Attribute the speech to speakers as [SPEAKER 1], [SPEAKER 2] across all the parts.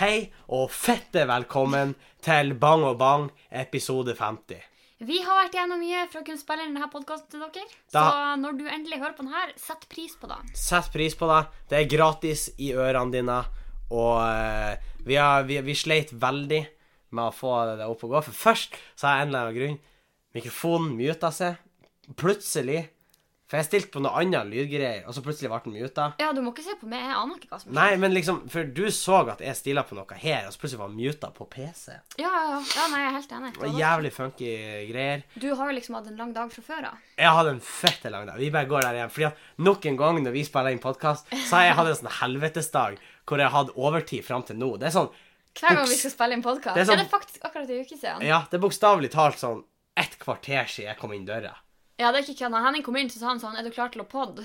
[SPEAKER 1] Hei, og fette velkommen til Bang og Bang episode 50.
[SPEAKER 2] Vi har vært gjennom mye fra å kunne spille inn denne podkasten til dere.
[SPEAKER 1] Da-
[SPEAKER 2] Så når du endelig hører på den her, sett pris på det.
[SPEAKER 1] Sett pris på det. Det er gratis i ørene dine. Og eh, vi, har, vi, vi sleit veldig med å få det opp og gå. For først så har jeg en eller annen grunn Mikrofonen muta seg. Plutselig. For jeg stilte på noe annet lydgreier, og så plutselig ble den muta.
[SPEAKER 2] Ja, du må ikke se på meg. Jeg aner ikke hva som
[SPEAKER 1] Nei, men liksom, for du så at jeg stila på noe her, og så plutselig var den muta på PC.
[SPEAKER 2] Ja, ja, ja. ja nei, jeg er helt enig.
[SPEAKER 1] Det var
[SPEAKER 2] Da-
[SPEAKER 1] Jævlig funky greier.
[SPEAKER 2] Du har jo liksom hatt en lang dag fra før av.
[SPEAKER 1] Jeg hadde en fette lang dag. Vi bare går der igjen. Fordi at nok en gang når vi spiller inn podkast, så har jeg hatt en sånn helvetesdag hvor jeg har hatt overtid fram til nå. Det er sånn
[SPEAKER 2] Hver gang
[SPEAKER 1] Buks.
[SPEAKER 2] vi skal spille inn podkast.
[SPEAKER 1] Det er
[SPEAKER 2] Det,
[SPEAKER 1] sånn-
[SPEAKER 2] det er faktisk akkurat en uke siden.
[SPEAKER 1] Ja, det er bokstavelig talt sånn ett kvarter siden jeg kom inn døra.
[SPEAKER 2] Ja, det er ikke kødd. Når Henning kom inn, så sa han sånn Er du klar til å podde?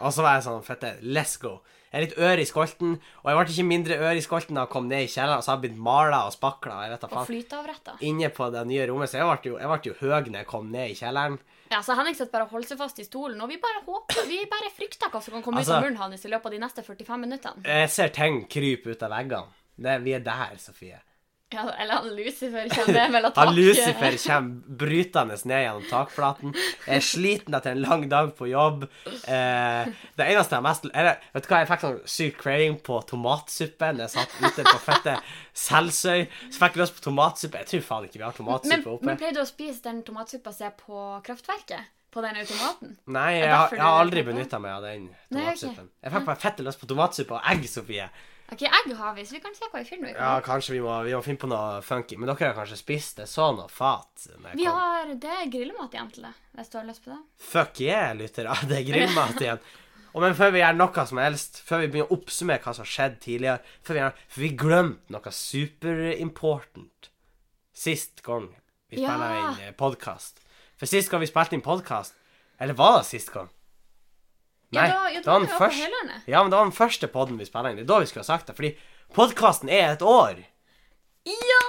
[SPEAKER 1] Og så var jeg sånn fette, let's go. Jeg er litt ør i skolten, og jeg ble ikke mindre ør i skolten da jeg kom ned i kjelleren, og så har jeg blitt mala og spakla og jeg vet da
[SPEAKER 2] Og
[SPEAKER 1] faen.
[SPEAKER 2] flyteavretta.
[SPEAKER 1] Inne på det nye rommet, så jeg ble jo, jeg ble jo høg når jeg kom ned i kjelleren.
[SPEAKER 2] Ja, så Henning sitter bare og holder seg fast i stolen, og vi bare håper Vi bare frykter hva som kan komme
[SPEAKER 1] Altså-
[SPEAKER 2] ut av munnen hans i løpet av de neste 45 minuttene.
[SPEAKER 1] Jeg ser ting krype ut av veggene. Det, vi er der, Sofie.
[SPEAKER 2] Ja, eller han Lucifer kjenner jeg vel at
[SPEAKER 1] Han
[SPEAKER 2] tak-
[SPEAKER 1] Lucifer kommer brytende ned gjennom takflaten. Jeg er sliten etter en lang dag på jobb. Eh, det eneste jeg mest eller, Vet du hva, jeg fikk sånn syk craving på tomatsuppe når jeg satt ute på fette Selsøy. Så fikk jeg lyst på tomatsuppe. Jeg tror faen ikke vi har
[SPEAKER 2] Men,
[SPEAKER 1] tomatsuppe oppe.
[SPEAKER 2] men pleier du å spise den tomatsuppa som er på Kraftverket? På den automaten?
[SPEAKER 1] Nei,
[SPEAKER 2] er
[SPEAKER 1] jeg,
[SPEAKER 2] derfor
[SPEAKER 1] har-
[SPEAKER 2] du
[SPEAKER 1] jeg har
[SPEAKER 2] vet
[SPEAKER 1] aldri
[SPEAKER 2] det.
[SPEAKER 1] benytta meg av den
[SPEAKER 2] Nei, ok.
[SPEAKER 1] tomatsuppen. Jeg fikk bare fette lyst på tomatsuppe og egg, Sofie.
[SPEAKER 2] Ok, egg har vi, så vi kan se hva vi finner. ut.
[SPEAKER 1] Ja, kanskje vi må, vi må finne på noe funky. Men dere har kanskje spist det? Så noe fat? eh, når jeg
[SPEAKER 2] Vi
[SPEAKER 1] kom.
[SPEAKER 2] har det er grillmat igjen til det, hvis du har lyst på det.
[SPEAKER 1] Fuck yeah, lyttere. Det er grillmat igjen. Og men før vi gjør noe som helst, før vi begynner å oppsummere hva som har skjedd tidligere For vi, gjør- for vi glemte noe superimportant sist gang vi
[SPEAKER 2] Ja.
[SPEAKER 1] spilte inn podkast. For sist gang vi spilte inn podkast Eller var det sist gang?
[SPEAKER 2] Ja, det var- ja, det var
[SPEAKER 1] den
[SPEAKER 2] det vi var på
[SPEAKER 1] første,
[SPEAKER 2] Helerne.
[SPEAKER 1] ja, men det var den første podden vi spilte inn. Det er da vi skulle ha sagt det. Fordi podkasten er et år.
[SPEAKER 2] Ja!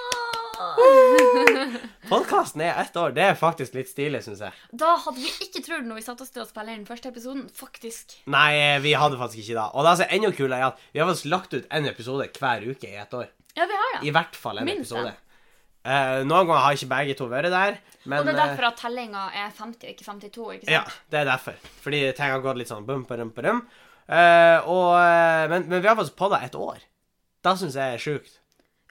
[SPEAKER 1] Podkasten er ett år. Det er faktisk litt stilig, syns jeg.
[SPEAKER 2] Da hadde vi ikke trodd når vi satte oss til å spille inn første episoden, faktisk.
[SPEAKER 1] Nei, vi hadde faktisk ikke det. Og det som er altså enda kulere, er at vi har faktisk lagt ut en episode hver uke i et år.
[SPEAKER 2] Ja, vi har
[SPEAKER 1] I
[SPEAKER 2] det.
[SPEAKER 1] hvert fall en
[SPEAKER 2] Minst
[SPEAKER 1] episode.
[SPEAKER 2] en.
[SPEAKER 1] Eh, noen ganger har ikke begge to vært der, men
[SPEAKER 2] Og det er
[SPEAKER 1] eh,
[SPEAKER 2] derfor at tellinga er 50 og ikke 52, ikke sant?
[SPEAKER 1] Ja, det er derfor. Fordi ting har gått litt sånn bum, bum, bum. Eh, og, eh, men, men vi har faktisk podda et år. Det syns jeg er sjukt.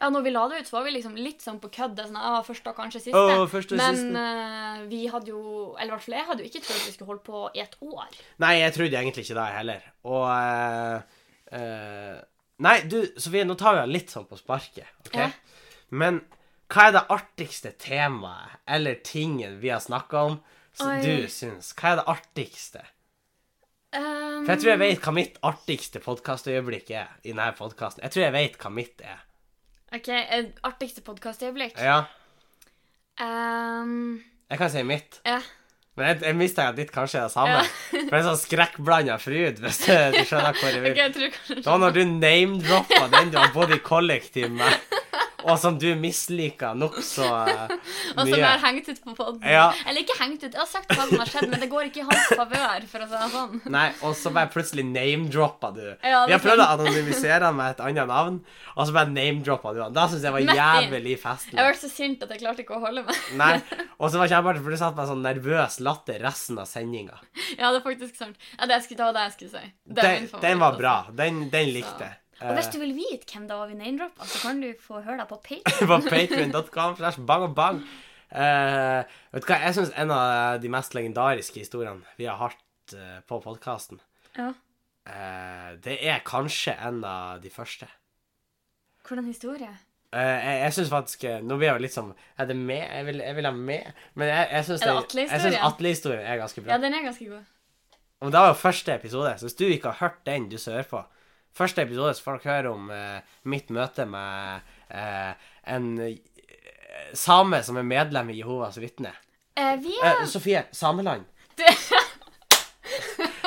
[SPEAKER 2] Ja, når vi la det ut, så var vi liksom litt sånn på kødd. det er Sånn, ah, først og kanskje siste.
[SPEAKER 1] Åh, først og
[SPEAKER 2] Men
[SPEAKER 1] siste.
[SPEAKER 2] eh, vi hadde jo Eller i hvert fall jeg hadde jo ikke trodd vi skulle holde på i et år.
[SPEAKER 1] Nei, jeg trodde egentlig ikke det heller. Og eh, eh, Nei, du, Sofie, nå tar vi den litt sånn på sparket. ok?
[SPEAKER 2] Ja.
[SPEAKER 1] Men hva er det artigste temaet eller tingen vi har snakka om, som
[SPEAKER 2] Oi.
[SPEAKER 1] du syns? Hva er det artigste?
[SPEAKER 2] Um,
[SPEAKER 1] For jeg tror jeg vet hva mitt artigste podkastøyeblikk er. i denne podcasten. Jeg tror jeg vet hva mitt er.
[SPEAKER 2] OK, eh, artigste podkastøyeblikk.
[SPEAKER 1] Ja,
[SPEAKER 2] Um,
[SPEAKER 1] jeg kan si mitt.
[SPEAKER 2] ja.
[SPEAKER 1] Men jeg, jeg mistenker at ditt kanskje er det samme. For det er sånn skrekkblanda fryd, hvis du, du skjønner hvor jeg vil.
[SPEAKER 2] Ok, jeg tror kanskje
[SPEAKER 1] Det var når du name-droppa den du har bodd i kollektiv med, og som du misliker nokså uh,
[SPEAKER 2] Og som
[SPEAKER 1] mye.
[SPEAKER 2] jeg Altså, har hengt ut på podden
[SPEAKER 1] Ja.
[SPEAKER 2] Eller ikke hengt ut, jeg har sagt hva som har skjedd, men det går ikke i hans favør, for å si det sånn.
[SPEAKER 1] Nei, og så bare plutselig name-droppa du.
[SPEAKER 2] Ja, det
[SPEAKER 1] Vi har prøvd å
[SPEAKER 2] sant.
[SPEAKER 1] anonymisere han med et annet navn, og så bare name-droppa du han. Det syns jeg var
[SPEAKER 2] Nettopp.
[SPEAKER 1] jævlig
[SPEAKER 2] Jeg
[SPEAKER 1] festlig.
[SPEAKER 2] ble så sint at jeg klarte ikke å holde meg.
[SPEAKER 1] Nei, Og så var det kjempeartig, for du satt med en sånn nervøs latter resten av sendinga.
[SPEAKER 2] Ja, det er faktisk sant. Ja, det, jeg skulle, det var det jeg skulle si. Det er
[SPEAKER 1] Den,
[SPEAKER 2] min favoritt,
[SPEAKER 1] den var
[SPEAKER 2] altså.
[SPEAKER 1] bra. Eh. Den, den
[SPEAKER 2] Så.
[SPEAKER 1] likte jeg.
[SPEAKER 2] Og hvis du vil vite hvem det var vi name-droppa, så kan du få høre det på Patreon.
[SPEAKER 1] på patreon.com slash bang og bang. Eh, vet du hva, jeg syns en av de mest legendariske historiene vi har hatt eh, på podkasten,
[SPEAKER 2] Ja.
[SPEAKER 1] det er kanskje en av de første.
[SPEAKER 2] Hvordan historie?
[SPEAKER 1] Eh, jeg jeg syns faktisk eh, Nå blir jeg jo litt sånn Er det med? Jeg vil, jeg vil ha med. Men jeg, jeg syns
[SPEAKER 2] Er det
[SPEAKER 1] den- jeg syns
[SPEAKER 2] Atle-historien?
[SPEAKER 1] Atle-historien er ganske bra.
[SPEAKER 2] Ja, den er ganske god.
[SPEAKER 1] Og det var jo første episode, så hvis du ikke har hørt den, du som hører på Første episode så får dere høre om eh, mitt møte med eh, en eh, same som er medlem i Jehovas vitne.
[SPEAKER 2] Eh, vi
[SPEAKER 1] Eh,
[SPEAKER 2] er
[SPEAKER 1] Sofie, Sameland.
[SPEAKER 2] Det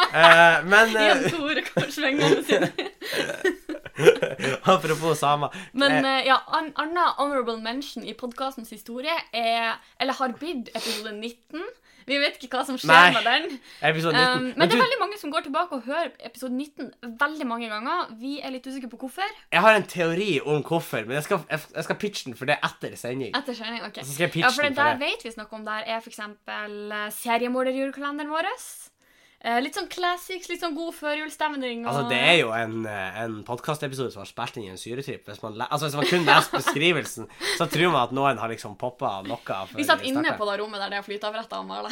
[SPEAKER 1] Eh, men
[SPEAKER 2] Jan
[SPEAKER 1] eh,
[SPEAKER 2] Tore Korsvengene sine.
[SPEAKER 1] eh, apropos samer
[SPEAKER 2] Men
[SPEAKER 1] eh,
[SPEAKER 2] eh, ja, en annen honorable mention i podkastens historie er Eller har blitt episode 19. Vi vet ikke hva som skjer
[SPEAKER 1] Nei.
[SPEAKER 2] med den.
[SPEAKER 1] Jeg blir sånn 19.
[SPEAKER 2] Um, men
[SPEAKER 1] Men
[SPEAKER 2] det
[SPEAKER 1] du,
[SPEAKER 2] er veldig mange som går tilbake og hører episode 19 veldig mange ganger. Vi er litt usikre på hvorfor.
[SPEAKER 1] jeg har en teori om hvorfor, men jeg skal, jeg, jeg skal pitche den for det etter sending.
[SPEAKER 2] Etter skjerning, ok.
[SPEAKER 1] Så skal jeg pitche
[SPEAKER 2] Ja, for det
[SPEAKER 1] den for
[SPEAKER 2] der
[SPEAKER 1] deg.
[SPEAKER 2] vet vi snakker om der, er f.eks. seriemorderjulekalenderen vår. Eh, Litt sånn classics, litt sånn god førjulsstemning. og-
[SPEAKER 1] Altså, det er jo en, eh, en podkastepisode som har spilt inn i en syretripp. Hvis man, le altså, hvis man kun leser beskrivelsen, så tror man at noen har liksom poppa noe. for
[SPEAKER 2] Vi satt
[SPEAKER 1] å
[SPEAKER 2] inne
[SPEAKER 1] starte.
[SPEAKER 2] på det rommet der det er flyteavretter og maler.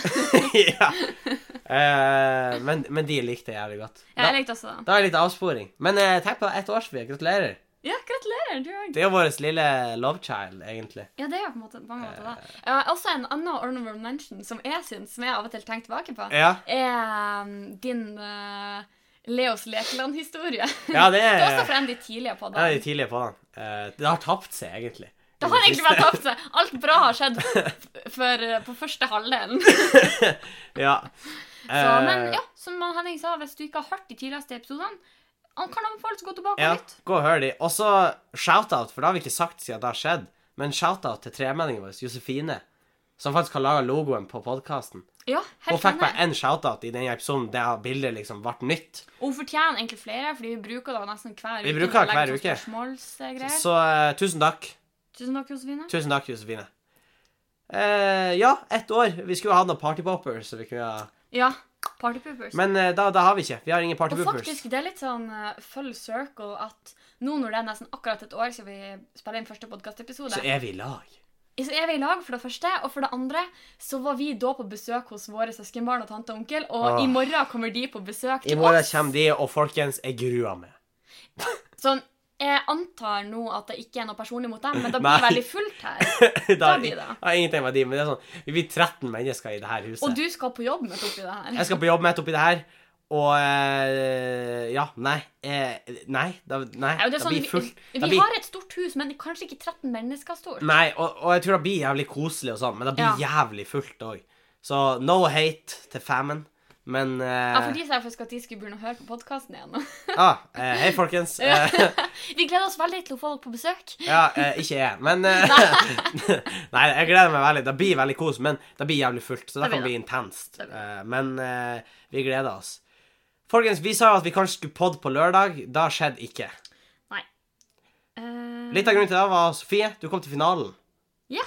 [SPEAKER 1] ja. Eh, men, men de likte jeg jævlig godt.
[SPEAKER 2] Ja,
[SPEAKER 1] Da,
[SPEAKER 2] jeg likte også det.
[SPEAKER 1] da er det litt avsporing. Men eh, tenk på ett års, vi. Gratulerer.
[SPEAKER 2] Ja, gratulerer, du òg.
[SPEAKER 1] Det er jo vårt lille love child, egentlig.
[SPEAKER 2] Ja, det er jo på en måte, på mange måter det. Eh, også en annen honorable mention som jeg syns, som jeg av og til tenker tilbake på,
[SPEAKER 1] Ja,
[SPEAKER 2] er um, din eh, Leos Lekeland-historie.
[SPEAKER 1] ja det
[SPEAKER 2] Det er også
[SPEAKER 1] er
[SPEAKER 2] fra en av de tidlige på
[SPEAKER 1] ja, de tidlige på den. Eh, det har tapt seg, egentlig.
[SPEAKER 2] Det har egentlig vært tapt seg. Alt bra har skjedd f- for, eh, på første halvdelen.
[SPEAKER 1] Ja.
[SPEAKER 2] Så, men
[SPEAKER 1] Eh,
[SPEAKER 2] ja, som han Henning sa, hvis du ikke har hørt de tidligste episodene, han kan anbefales å gå tilbake
[SPEAKER 1] Ja,
[SPEAKER 2] og lytte.
[SPEAKER 1] gå og hør de. Og så shout-out, for det har vi ikke sagt siden det har skjedd, men shout-out til tremenningen vår, Josefine, som faktisk har laga logoen på podkasten.
[SPEAKER 2] Ja,
[SPEAKER 1] Hun
[SPEAKER 2] helt
[SPEAKER 1] fikk
[SPEAKER 2] enig.
[SPEAKER 1] bare én shout-out i den episoden der bildet liksom ble nytt.
[SPEAKER 2] Og Hun fortjener egentlig flere, fordi vi bruker det nesten hver uke.
[SPEAKER 1] Vi bruker
[SPEAKER 2] til å
[SPEAKER 1] det hver
[SPEAKER 2] legge
[SPEAKER 1] uke.
[SPEAKER 2] sånn Spørsmålsgreier.
[SPEAKER 1] Så eh, tusen takk.
[SPEAKER 2] Tusen takk, Josefine.
[SPEAKER 1] Tusen takk, Josefine. Eh, ja, ett år. Vi skulle jo ha noen partypoppers. så vi kunne ha-
[SPEAKER 2] Ja. Party poopers.
[SPEAKER 1] Men eh, da, da har vi ikke. Vi har ingen
[SPEAKER 2] og
[SPEAKER 1] partypoppers.
[SPEAKER 2] faktisk, det er litt sånn eh, full circle at nå når det er nesten akkurat et år siden vi spiller inn første podkastepisode,
[SPEAKER 1] Så er vi i lag.
[SPEAKER 2] Så er vi i lag, for det første. Og for det andre så var vi da på besøk hos våre søskenbarn og tante og onkel, og
[SPEAKER 1] Åh.
[SPEAKER 2] i morgen kommer de på besøk
[SPEAKER 1] I
[SPEAKER 2] til
[SPEAKER 1] morgen
[SPEAKER 2] oss.
[SPEAKER 1] kommer de, og folkens, jeg gruer meg.
[SPEAKER 2] Sånn, jeg antar nå at det ikke er noe personlig mot dem, men det
[SPEAKER 1] Nei.
[SPEAKER 2] blir veldig fullt her.
[SPEAKER 1] da,
[SPEAKER 2] blir det.
[SPEAKER 1] Ja, ingenting med de, men det er sånn, vi blir 13 mennesker i det her huset.
[SPEAKER 2] Og du skal på jobb midt oppi det her.
[SPEAKER 1] Jeg skal på jobb midt oppi det her, og eh, Ja, nei. eh, nei, da, nei
[SPEAKER 2] Ja, det
[SPEAKER 1] det
[SPEAKER 2] er sånn,
[SPEAKER 1] blir
[SPEAKER 2] vi,
[SPEAKER 1] fullt. Det
[SPEAKER 2] vi
[SPEAKER 1] blir,
[SPEAKER 2] har et stort hus, men kanskje ikke 13 mennesker stort.
[SPEAKER 1] nei, og, og jeg tror det blir jævlig koselig og sånn, men det blir jævlig fullt òg. Så no hate til famen, men eh,
[SPEAKER 2] Ja, for de sa faktisk at de skulle begynne å høre på podkasten igjen.
[SPEAKER 1] ah, eh, Hei, folkens. Eh,
[SPEAKER 2] Vi gleder oss veldig til å få dere på besøk.
[SPEAKER 1] ja, eh, ikke jeg, men eh, Nei, jeg gleder meg veldig. Det blir veldig kos, men det blir jævlig fullt, så det,
[SPEAKER 2] Det blir
[SPEAKER 1] kan
[SPEAKER 2] det.
[SPEAKER 1] bli intenst.
[SPEAKER 2] Det blir
[SPEAKER 1] Eh, men eh, vi gleder oss. Folkens, vi sa jo at vi kanskje skulle podde på lørdag. Det skjedde ikke.
[SPEAKER 2] Nei. Eh,
[SPEAKER 1] Litt av grunnen til det var Sofie, du kom til finalen.
[SPEAKER 2] Ja.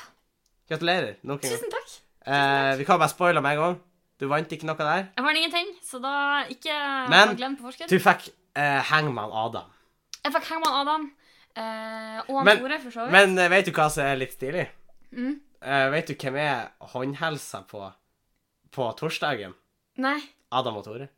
[SPEAKER 1] Gratulerer. Nok en gang.
[SPEAKER 2] Tusen takk.
[SPEAKER 1] Eh, vi kan bare spoile med en gang. Du vant ikke noe der.
[SPEAKER 2] Jeg har ingenting, så da ikke
[SPEAKER 1] Men-
[SPEAKER 2] glem på forskudd.
[SPEAKER 1] Du fikk eh, Hangman Adam.
[SPEAKER 2] Jeg fikk Hangman Adam eh, og han
[SPEAKER 1] Men-
[SPEAKER 2] Tore, for så vidt.
[SPEAKER 1] Men eh, vet du hva som er litt stilig?
[SPEAKER 2] Mm.
[SPEAKER 1] Eh, vet du hvem er håndhelsa på på torsdagen?
[SPEAKER 2] Nei.
[SPEAKER 1] Adam og Tore.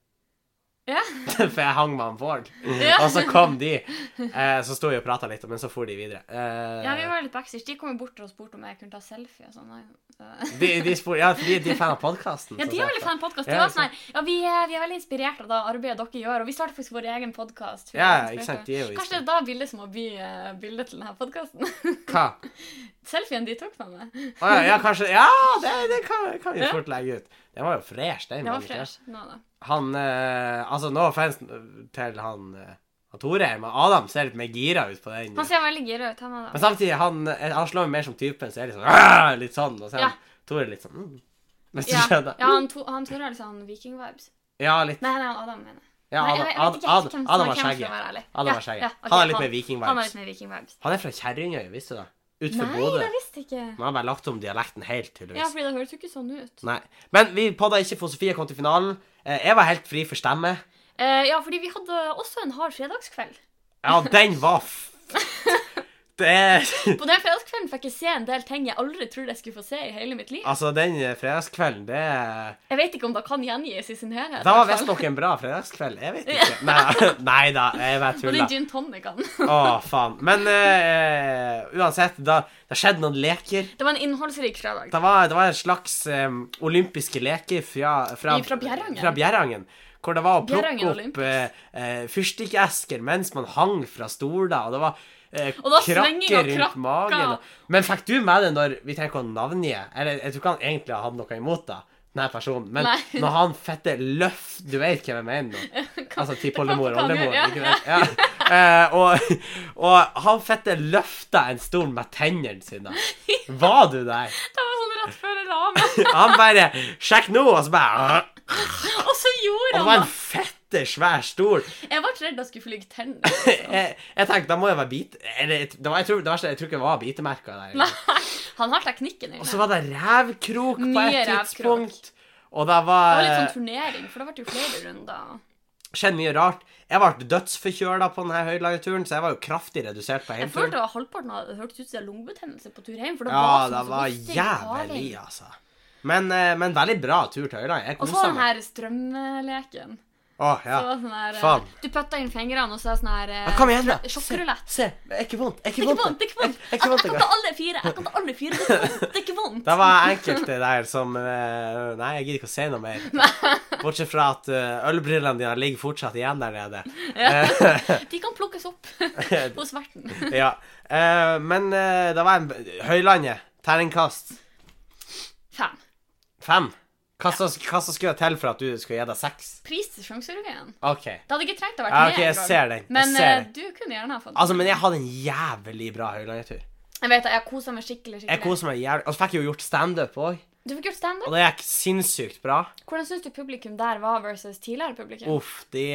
[SPEAKER 2] Ja.
[SPEAKER 1] For jeg hang med han Bård.
[SPEAKER 2] Ja.
[SPEAKER 1] Og så kom de. Eh, så sto vi og prata litt, men så for de videre. Eh,
[SPEAKER 2] Ja, vi var litt backstage. De kom jo bort og spurte om jeg kunne ta selfie og sånn. nei, så-
[SPEAKER 1] de, de spor, ja, fordi de er fan av podkasten.
[SPEAKER 2] Ja, de er veldig fan av podkast.
[SPEAKER 1] Ja,
[SPEAKER 2] Ja,
[SPEAKER 1] ikke
[SPEAKER 2] sånn her, ja, vi, er- vi er veldig inspirert av det arbeidet dere gjør, og vi starter faktisk vår egen podkast.
[SPEAKER 1] Ja, ikke sant. De er jo
[SPEAKER 2] Kanskje det er da bildet som må bli eh, bildet til denne podkasten.
[SPEAKER 1] Hva?
[SPEAKER 2] Selfien de tok med meg.
[SPEAKER 1] Å ja, ja, kanskje Ja, det, det kan, kan vi fort legge ut. Den var jo fresh, den.
[SPEAKER 2] Det
[SPEAKER 1] den,
[SPEAKER 2] var
[SPEAKER 1] ikke?
[SPEAKER 2] fresh. Nå, da.
[SPEAKER 1] Han eh, Altså, no offense til han, eh, han Tore, men Adam ser litt mer gira ut på den.
[SPEAKER 2] Han ser veldig gira ut. Han, er
[SPEAKER 1] Men
[SPEAKER 2] da.
[SPEAKER 1] samtidig, han, eh, han slår meg mer som typen, så jeg er litt sånn «Åh!» Litt sånn, og så er
[SPEAKER 2] Ja.
[SPEAKER 1] han Tore litt sånn mm. Hvis du
[SPEAKER 2] ja,
[SPEAKER 1] skjønner?
[SPEAKER 2] ja, han, to, han Tore har litt sånn viking-vibes.
[SPEAKER 1] Ja, litt.
[SPEAKER 2] Nei, nei, han Adam mener jeg.
[SPEAKER 1] Ja,
[SPEAKER 2] Nei,
[SPEAKER 1] Adam,
[SPEAKER 2] jeg vet
[SPEAKER 1] Adam,
[SPEAKER 2] ikke helt
[SPEAKER 1] Adam,
[SPEAKER 2] hvem som
[SPEAKER 1] Adam
[SPEAKER 2] er
[SPEAKER 1] har
[SPEAKER 2] hvem, for å
[SPEAKER 1] skjegget.
[SPEAKER 2] være ærlig.
[SPEAKER 1] Adam
[SPEAKER 2] Ja,
[SPEAKER 1] har skjegget.
[SPEAKER 2] ja, ok,
[SPEAKER 1] han er litt mer
[SPEAKER 2] Han er
[SPEAKER 1] viking-vibes.
[SPEAKER 2] litt mer viking-vibes.
[SPEAKER 1] Han er fra Kjerringøy, visste du det?
[SPEAKER 2] Nei,
[SPEAKER 1] Utenfor Bodø.
[SPEAKER 2] det visste jeg ikke.
[SPEAKER 1] Man har bare lagt om dialekten helt, tydeligvis.
[SPEAKER 2] Ja, fordi det høres jo ikke sånn ut.
[SPEAKER 1] Nei. Men vi podda ikke, for Sofie kom til finalen. Eh, Jeg var helt fri for stemme.
[SPEAKER 2] Eh, ja, fordi vi hadde også en hard fredagskveld.
[SPEAKER 1] Ja, den var f... Det
[SPEAKER 2] På den fredagskvelden fikk jeg se en del ting jeg aldri trodde jeg skulle få se i hele mitt liv.
[SPEAKER 1] Altså, den eh, fredagskvelden, det
[SPEAKER 2] Jeg vet ikke om det kan gjengis i sin helhet.
[SPEAKER 1] Da var
[SPEAKER 2] i hvert fall.
[SPEAKER 1] visstnok en bra fredagskveld. Jeg vet ikke. Nei, nei da, jeg bare
[SPEAKER 2] Og
[SPEAKER 1] tuller.
[SPEAKER 2] den gin tonicen.
[SPEAKER 1] Å, faen. Men eh, uansett, da, det skjedde noen leker.
[SPEAKER 2] Det var en innholdsrik fredag.
[SPEAKER 1] Det var, det var en slags eh, olympiske leker fra, fra,
[SPEAKER 2] I- fra Bjerrangen.
[SPEAKER 1] fra Bjerrangen, Hvor det var å
[SPEAKER 2] Bjerrangen
[SPEAKER 1] plukke opp
[SPEAKER 2] Olympics.
[SPEAKER 1] eh, eh, fyrstikkesker mens man hang fra stoler, og det var eh,
[SPEAKER 2] Og da slenging
[SPEAKER 1] krakker
[SPEAKER 2] av
[SPEAKER 1] rundt
[SPEAKER 2] krakker.
[SPEAKER 1] magen. og- Men fikk du med det når Vi trenger ikke å navngi Eller jeg tror ikke han egentlig hadde noe imot det, denne personen, men
[SPEAKER 2] Nei.
[SPEAKER 1] når han fette løft Du vet hvem jeg mener nå? Altså tippoldemor,
[SPEAKER 2] Det kommer
[SPEAKER 1] oldemor.
[SPEAKER 2] på hva han
[SPEAKER 1] ikke
[SPEAKER 2] gjør,
[SPEAKER 1] sant? Ja. Eh, og, og han fette løfta en stol med tennene sine. Var du der?
[SPEAKER 2] Det var sånn rett før jeg la med?
[SPEAKER 1] Han bare 'Sjekk nå!' Og så bare
[SPEAKER 2] Og så gjorde
[SPEAKER 1] Han
[SPEAKER 2] han
[SPEAKER 1] var en
[SPEAKER 2] det!
[SPEAKER 1] fette svær stol.
[SPEAKER 2] Jeg var så redd jeg skulle flyge tenner.
[SPEAKER 1] Jeg, jeg tenkte da må jeg være bit... Eller, det var, jeg, tror, det var, ikke- jeg tror ikke det var bitemerker der.
[SPEAKER 2] Nei, han har teknikken
[SPEAKER 1] Og så
[SPEAKER 2] inne.
[SPEAKER 1] var det rævkrok på
[SPEAKER 2] Mye
[SPEAKER 1] et
[SPEAKER 2] rævkrok.
[SPEAKER 1] tidspunkt. Og det
[SPEAKER 2] Det
[SPEAKER 1] var
[SPEAKER 2] var litt sånn turnering, for det ble jo flere runder.
[SPEAKER 1] skjedd mye rart. Jeg ble dødsforkjøla på denne høydelageturen, så jeg var jo kraftig redusert på
[SPEAKER 2] Jeg følte
[SPEAKER 1] hjemturen.
[SPEAKER 2] det var halvparten av det hørtes ut som lungebetennelse på tur hjem. For det
[SPEAKER 1] Ja,
[SPEAKER 2] var sånn
[SPEAKER 1] det
[SPEAKER 2] som
[SPEAKER 1] var
[SPEAKER 2] hosting,
[SPEAKER 1] jævlig,
[SPEAKER 2] karing.
[SPEAKER 1] altså. Men, eh, men veldig bra tur til Høyland. Jeg
[SPEAKER 2] Og så
[SPEAKER 1] kosa
[SPEAKER 2] var den
[SPEAKER 1] meg.
[SPEAKER 2] her strømleken.
[SPEAKER 1] Å, ja.
[SPEAKER 2] Så var det sånn her, eh,
[SPEAKER 1] Faen.
[SPEAKER 2] Du putta inn fingrene, og så er det sånn her eh,
[SPEAKER 1] ja. Kom igjen, da.
[SPEAKER 2] sjokk-
[SPEAKER 1] Se,
[SPEAKER 2] Sjokkrulett.
[SPEAKER 1] se. Det er ikke vondt. Det er
[SPEAKER 2] Det
[SPEAKER 1] ikke
[SPEAKER 2] er ikke
[SPEAKER 1] vondt.
[SPEAKER 2] vondt, det er ikke vondt.
[SPEAKER 1] Det er
[SPEAKER 2] Jeg,
[SPEAKER 1] ikke
[SPEAKER 2] jeg
[SPEAKER 1] vondt
[SPEAKER 2] kan
[SPEAKER 1] engang.
[SPEAKER 2] ta alle fire. Jeg kan ta alle fire. Det er ikke vondt. Det er ikke vondt.
[SPEAKER 1] Det var enkelte der som eh, Nei, jeg gidder ikke å si noe mer. Bortsett fra at eh, ølbrillene dine ligger fortsatt igjen der nede.
[SPEAKER 2] De kan plukkes opp hos verten.
[SPEAKER 1] Ja. Eh, men eh, det var en Høylandet. Terningkast
[SPEAKER 2] Fem.
[SPEAKER 1] fem. Hva som hva som skulle til for at du skulle gi deg seks?
[SPEAKER 2] Pris til sjangeruggen.
[SPEAKER 1] OK.
[SPEAKER 2] Det hadde ikke trengt å være
[SPEAKER 1] Ja, ok,
[SPEAKER 2] med
[SPEAKER 1] jeg
[SPEAKER 2] engang.
[SPEAKER 1] ser den. Jeg
[SPEAKER 2] Men
[SPEAKER 1] ser
[SPEAKER 2] eh,
[SPEAKER 1] den.
[SPEAKER 2] du kunne gjerne ha fått
[SPEAKER 1] Altså, men jeg hadde en jævlig bra høylandetur.
[SPEAKER 2] Jeg vet det, jeg kosa meg skikkelig. skikkelig.
[SPEAKER 1] Jeg koser meg jævlig. Og så fikk jeg jo gjort standup òg,
[SPEAKER 2] Du fikk gjort standup.
[SPEAKER 1] og det gikk sinnssykt bra.
[SPEAKER 2] Hvordan syns du publikum der var versus tidligere publikum?
[SPEAKER 1] Uff, de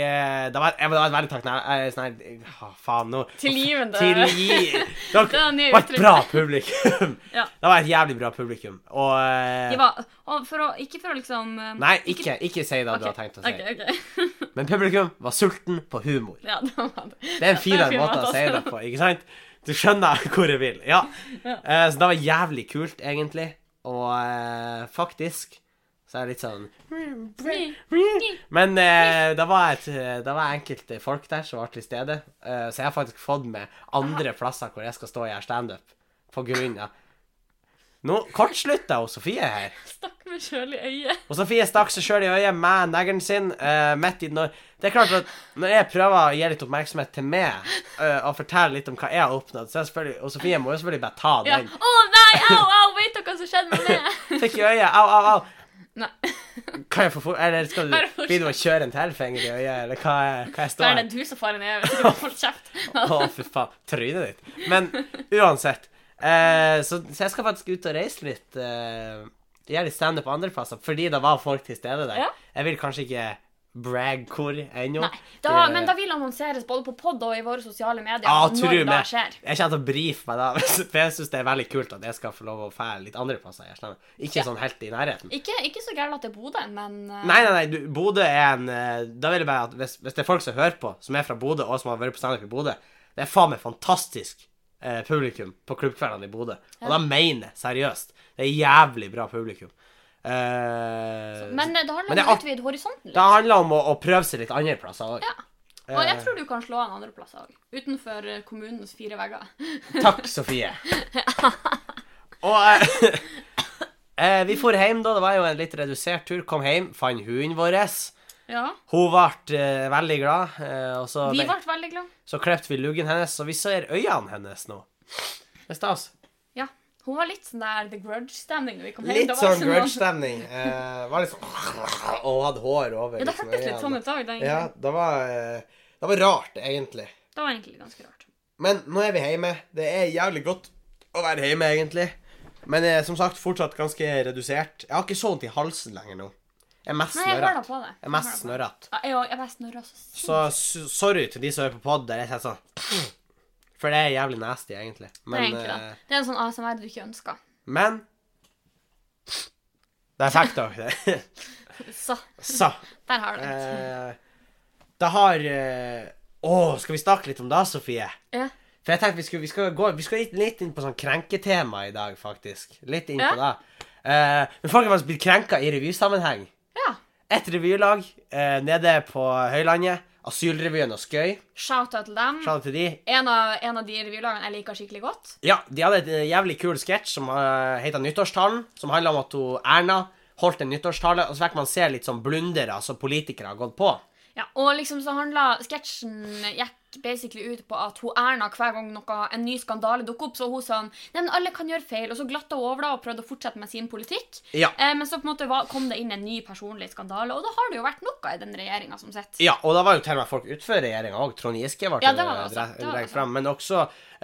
[SPEAKER 1] Det var, jeg, det var veldig takknemlig Sånn her ah, Faen, nå
[SPEAKER 2] Tilgivende.
[SPEAKER 1] Tilgi...
[SPEAKER 2] Det er nye
[SPEAKER 1] Det var et
[SPEAKER 2] uttrykk.
[SPEAKER 1] bra publikum.
[SPEAKER 2] Ja.
[SPEAKER 1] Det var et jævlig bra publikum. Og eh,
[SPEAKER 2] De var, og for å, ikke for å liksom eh,
[SPEAKER 1] Nei, ikke, ikke si det
[SPEAKER 2] Ok,
[SPEAKER 1] du har tenkt å si.
[SPEAKER 2] ok, ok.
[SPEAKER 1] Men publikum var sulten på humor.
[SPEAKER 2] Ja, det var det.
[SPEAKER 1] Det er en
[SPEAKER 2] Ja,
[SPEAKER 1] finere måte å si det på, ikke sant? Du skjønner hvor jeg vil. Ja. Eh, så det var jævlig kult, egentlig. Og eh, faktisk så er det litt sånn Men eh, det, var et, det var enkelte folk der som var til stede, eh, så jeg har faktisk fått med andre plasser hvor jeg skal stå og gjøre standup. På grunn av Nå kortslutta hun Sofie her.
[SPEAKER 2] Stakk meg sjøl i øyet.
[SPEAKER 1] Og Sofie stakk seg sjøl i øyet med neglen sin eh, midt i når Det er klart at når jeg prøver å gi litt oppmerksomhet til meg eh, og fortelle litt om hva jeg har oppnådd, så er jeg selvfølgelig Og Sofie må jo selvfølgelig bare ta
[SPEAKER 2] Ja.
[SPEAKER 1] den.
[SPEAKER 2] Å nei, au, au, vet dere hva som skjedde med meg?
[SPEAKER 1] Fikk i øyet. Au, au, au.
[SPEAKER 2] Nei.
[SPEAKER 1] Kan jeg få for... Eller skal
[SPEAKER 2] Bare
[SPEAKER 1] du
[SPEAKER 2] fortsett.
[SPEAKER 1] begynne å kjøre en til finger i øyet, eller hva, er- hva jeg
[SPEAKER 2] Da
[SPEAKER 1] står
[SPEAKER 2] er det du som får en evig så du får kjeft.
[SPEAKER 1] Å, fy faen. Trynet ditt. Men uansett. Eh, så, så jeg skal faktisk ut og reise litt. Eh, gjøre litt standup på andre plasser, fordi det var folk til stede der.
[SPEAKER 2] Ja.
[SPEAKER 1] Jeg vil kanskje ikke brag hvor ennå.
[SPEAKER 2] Nei, da, men da vil annonseres både på pod og i våre sosiale medier
[SPEAKER 1] Ja, Ah, tro
[SPEAKER 2] når det
[SPEAKER 1] meg.
[SPEAKER 2] skjer.
[SPEAKER 1] Jeg kommer til å brife meg da, for jeg syns det er veldig kult at jeg skal få lov å fære litt andre plasser. Jeg skjønner. ikke sånn helt i nærheten.
[SPEAKER 2] Ikke, ikke så gærent at det er Bodø, men eh,
[SPEAKER 1] Nei, nei, nei, du, Bodø er en eh, Da vil jeg bare at hvis, hvis det er folk som hører på, som er fra Bodø, og som har vært på standup i Bodø Det er faen meg fantastisk eh, publikum på klubbkveldene i Bodø. Og da mener jeg seriøst. Det er jævlig bra publikum. Eh,
[SPEAKER 2] Men eh, det handler
[SPEAKER 1] Men det
[SPEAKER 2] om å
[SPEAKER 1] er
[SPEAKER 2] utvide horisonten litt.
[SPEAKER 1] det handler om å, å prøve seg litt andre plasser Eh, òg.
[SPEAKER 2] Ja. Og jeg tror du kan slå an andre plasser òg. Utenfor eh, kommunens fire vegger.
[SPEAKER 1] Takk, Sofie. Og eh, eh, vi for hjem, da. Det var jo en litt redusert tur. Kom hjem, fant hunden vår.
[SPEAKER 2] Ja.
[SPEAKER 1] Hun ble eh, veldig glad. Eh, og så
[SPEAKER 2] Vi
[SPEAKER 1] ble-
[SPEAKER 2] ble veldig glad.
[SPEAKER 1] Så klippte vi luggen hennes, så vi ser øynene hennes nå. Det er stas.
[SPEAKER 2] Ja. Hun var litt sånn der The Grudge-stemning når vi kom hjem.
[SPEAKER 1] Litt
[SPEAKER 2] Det var
[SPEAKER 1] sånn
[SPEAKER 2] noe-
[SPEAKER 1] grudge-stemning. Eh, var litt sånn Og hadde hår over.
[SPEAKER 2] Ja, det
[SPEAKER 1] liksom,
[SPEAKER 2] hørtes litt sånn
[SPEAKER 1] øynene.
[SPEAKER 2] ut òg.
[SPEAKER 1] Ja, det var, eh, det var rart, egentlig.
[SPEAKER 2] Det var egentlig ganske rart.
[SPEAKER 1] Men nå er vi hjemme. Det er jævlig godt å være hjemme, egentlig. Men eh, som sagt, fortsatt ganske redusert. Jeg har ikke så vondt i halsen lenger nå. Jeg er mest
[SPEAKER 2] Nei, jeg hører da
[SPEAKER 1] snørrete.
[SPEAKER 2] på det.
[SPEAKER 1] Jeg er mest snørrete.
[SPEAKER 2] Ja, jeg òg. Jeg bare snørra så sykt.
[SPEAKER 1] Så s- sorry til de som hører på pod der jeg sier sånn For det er jævlig nasty, egentlig.
[SPEAKER 2] Det er
[SPEAKER 1] Men
[SPEAKER 2] egentlig
[SPEAKER 1] eh,
[SPEAKER 2] det. Det er en sånn ASMR du ikke ønsker.
[SPEAKER 1] Men Der fikk dere det.
[SPEAKER 2] Så,
[SPEAKER 1] Så
[SPEAKER 2] der har du det.
[SPEAKER 1] eh, Det har eh, Å, skal vi snakke litt om det, Sofie?
[SPEAKER 2] Ja.
[SPEAKER 1] For jeg tenkte vi skulle, vi skal gå Vi skal litt, litt inn på sånn krenketema i dag, faktisk. Litt inn
[SPEAKER 2] Ja.
[SPEAKER 1] på det. Eh, men folk har faktisk blitt krenka i revysammenheng.
[SPEAKER 2] ja.
[SPEAKER 1] Et revylag eh, nede på Høylandet. Asylrevyen og Skøy.
[SPEAKER 2] Shout-out til dem.
[SPEAKER 1] Shout out til de.
[SPEAKER 2] En av, en av de revylagene jeg liker skikkelig godt.
[SPEAKER 1] Ja, de hadde et eh, jævlig kul sketsj som uh, heter Nyttårstalen, som handla om at hun, Erna holdt en nyttårstale, og så fikk man se litt sånn blundere som politikere har altså gått på.
[SPEAKER 2] Ja, og liksom så handla sketsjen gikk gikk basically ut på at hun Erna hver gang noe, en ny skandale dukket opp, så hun sånn Nei, men alle kan gjøre feil. Og så glatta hun over det og prøvde å fortsette med sin politikk.
[SPEAKER 1] Ja.
[SPEAKER 2] Eh, men så på en måte var, kom det inn en ny personlig skandale, og da har det jo vært noe i den regjeringa som sitter.
[SPEAKER 1] Ja, og da var jo til og med folk utenfor regjeringa òg. Trond Giske ble
[SPEAKER 2] Ja, det var det også. Det var det
[SPEAKER 1] dratt
[SPEAKER 2] også.
[SPEAKER 1] frem. Men også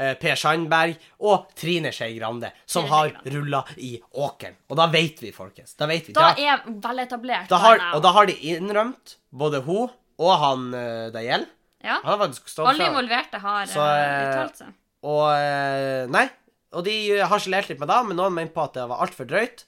[SPEAKER 1] eh, Per Sandberg og Trine Skei Grande, som
[SPEAKER 2] Trine
[SPEAKER 1] har
[SPEAKER 2] Skei
[SPEAKER 1] rulla i åkeren. Og da vet vi, folkens. Da vet vi.
[SPEAKER 2] Da
[SPEAKER 1] Da-
[SPEAKER 2] er veletablert.
[SPEAKER 1] da har,
[SPEAKER 2] Erna.
[SPEAKER 1] og da har de innrømt, både hun og han eh, det gjelder.
[SPEAKER 2] ja.
[SPEAKER 1] Han har faktisk stått
[SPEAKER 2] Alle
[SPEAKER 1] frem.
[SPEAKER 2] involverte har
[SPEAKER 1] Så,
[SPEAKER 2] eh,
[SPEAKER 1] eh,
[SPEAKER 2] uttalt seg.
[SPEAKER 1] Og eh, Nei. Og de harselerte litt med det, men noen mener på at det var altfor drøyt.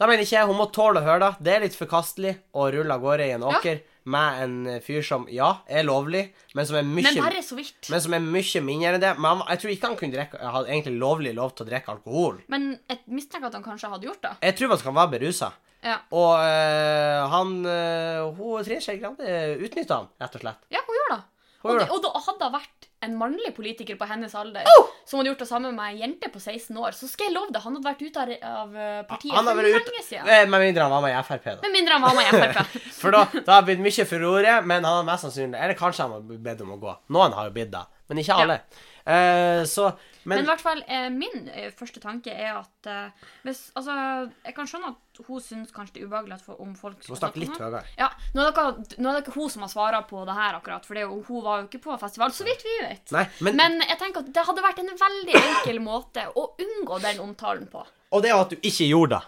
[SPEAKER 1] Da mener ikke jeg hun må tåle å høre det. Det er litt forkastelig å rulle av gårde i en
[SPEAKER 2] Ja.
[SPEAKER 1] åker med en fyr som, ja, er lovlig, men som er mye
[SPEAKER 2] Men bare så vidt.
[SPEAKER 1] Men som er mye mindre enn det. Men han, jeg tror ikke han kunne drikke, hadde egentlig lovlig lov til å drikke alkohol.
[SPEAKER 2] Men jeg mistenker at han kanskje hadde gjort det.
[SPEAKER 1] Jeg tror man skal være berusa.
[SPEAKER 2] Ja,
[SPEAKER 1] Og øh, han øh, Hun Trine Skei Grande utnytta han, rett og slett.
[SPEAKER 2] ja hun gjør det.
[SPEAKER 1] Hun
[SPEAKER 2] Og,
[SPEAKER 1] gjør
[SPEAKER 2] det, og da hadde det vært en mannlig politiker på hennes alder som hadde gjort det samme med ei jente på 16 år, så skal jeg love deg, han hadde vært ute av, av eh, partiet
[SPEAKER 1] Han har
[SPEAKER 2] for
[SPEAKER 1] vært
[SPEAKER 2] lenge
[SPEAKER 1] ute
[SPEAKER 2] siden.
[SPEAKER 1] Eh, Med mindre han var med i Frp, da.
[SPEAKER 2] Med mindre han var med i Frp.
[SPEAKER 1] For da, da har det blitt mye furore, men han har mest sannsynlig Eller kanskje han har blitt bedt om å gå. Noen har jo bidd, da. Men ikke alle. Eh, så
[SPEAKER 2] Men i
[SPEAKER 1] Men
[SPEAKER 2] hvert fall, eh, min eh, første tanke er at eh, hvis, altså, Jeg kan skjønne at hun syns kanskje det er ubehagelig at for, om folk
[SPEAKER 1] må snakke litt
[SPEAKER 2] om
[SPEAKER 1] høyere.
[SPEAKER 2] det. Ja, nå er, det ikke, nå er det ikke hun som har svara på det her, akkurat, for det er jo, hun var jo ikke på festival, så vidt vi vet.
[SPEAKER 1] Nei, men,
[SPEAKER 2] Men jeg tenker at det hadde vært en veldig enkel måte å unngå den omtalen på.
[SPEAKER 1] Og det er jo at du ikke gjorde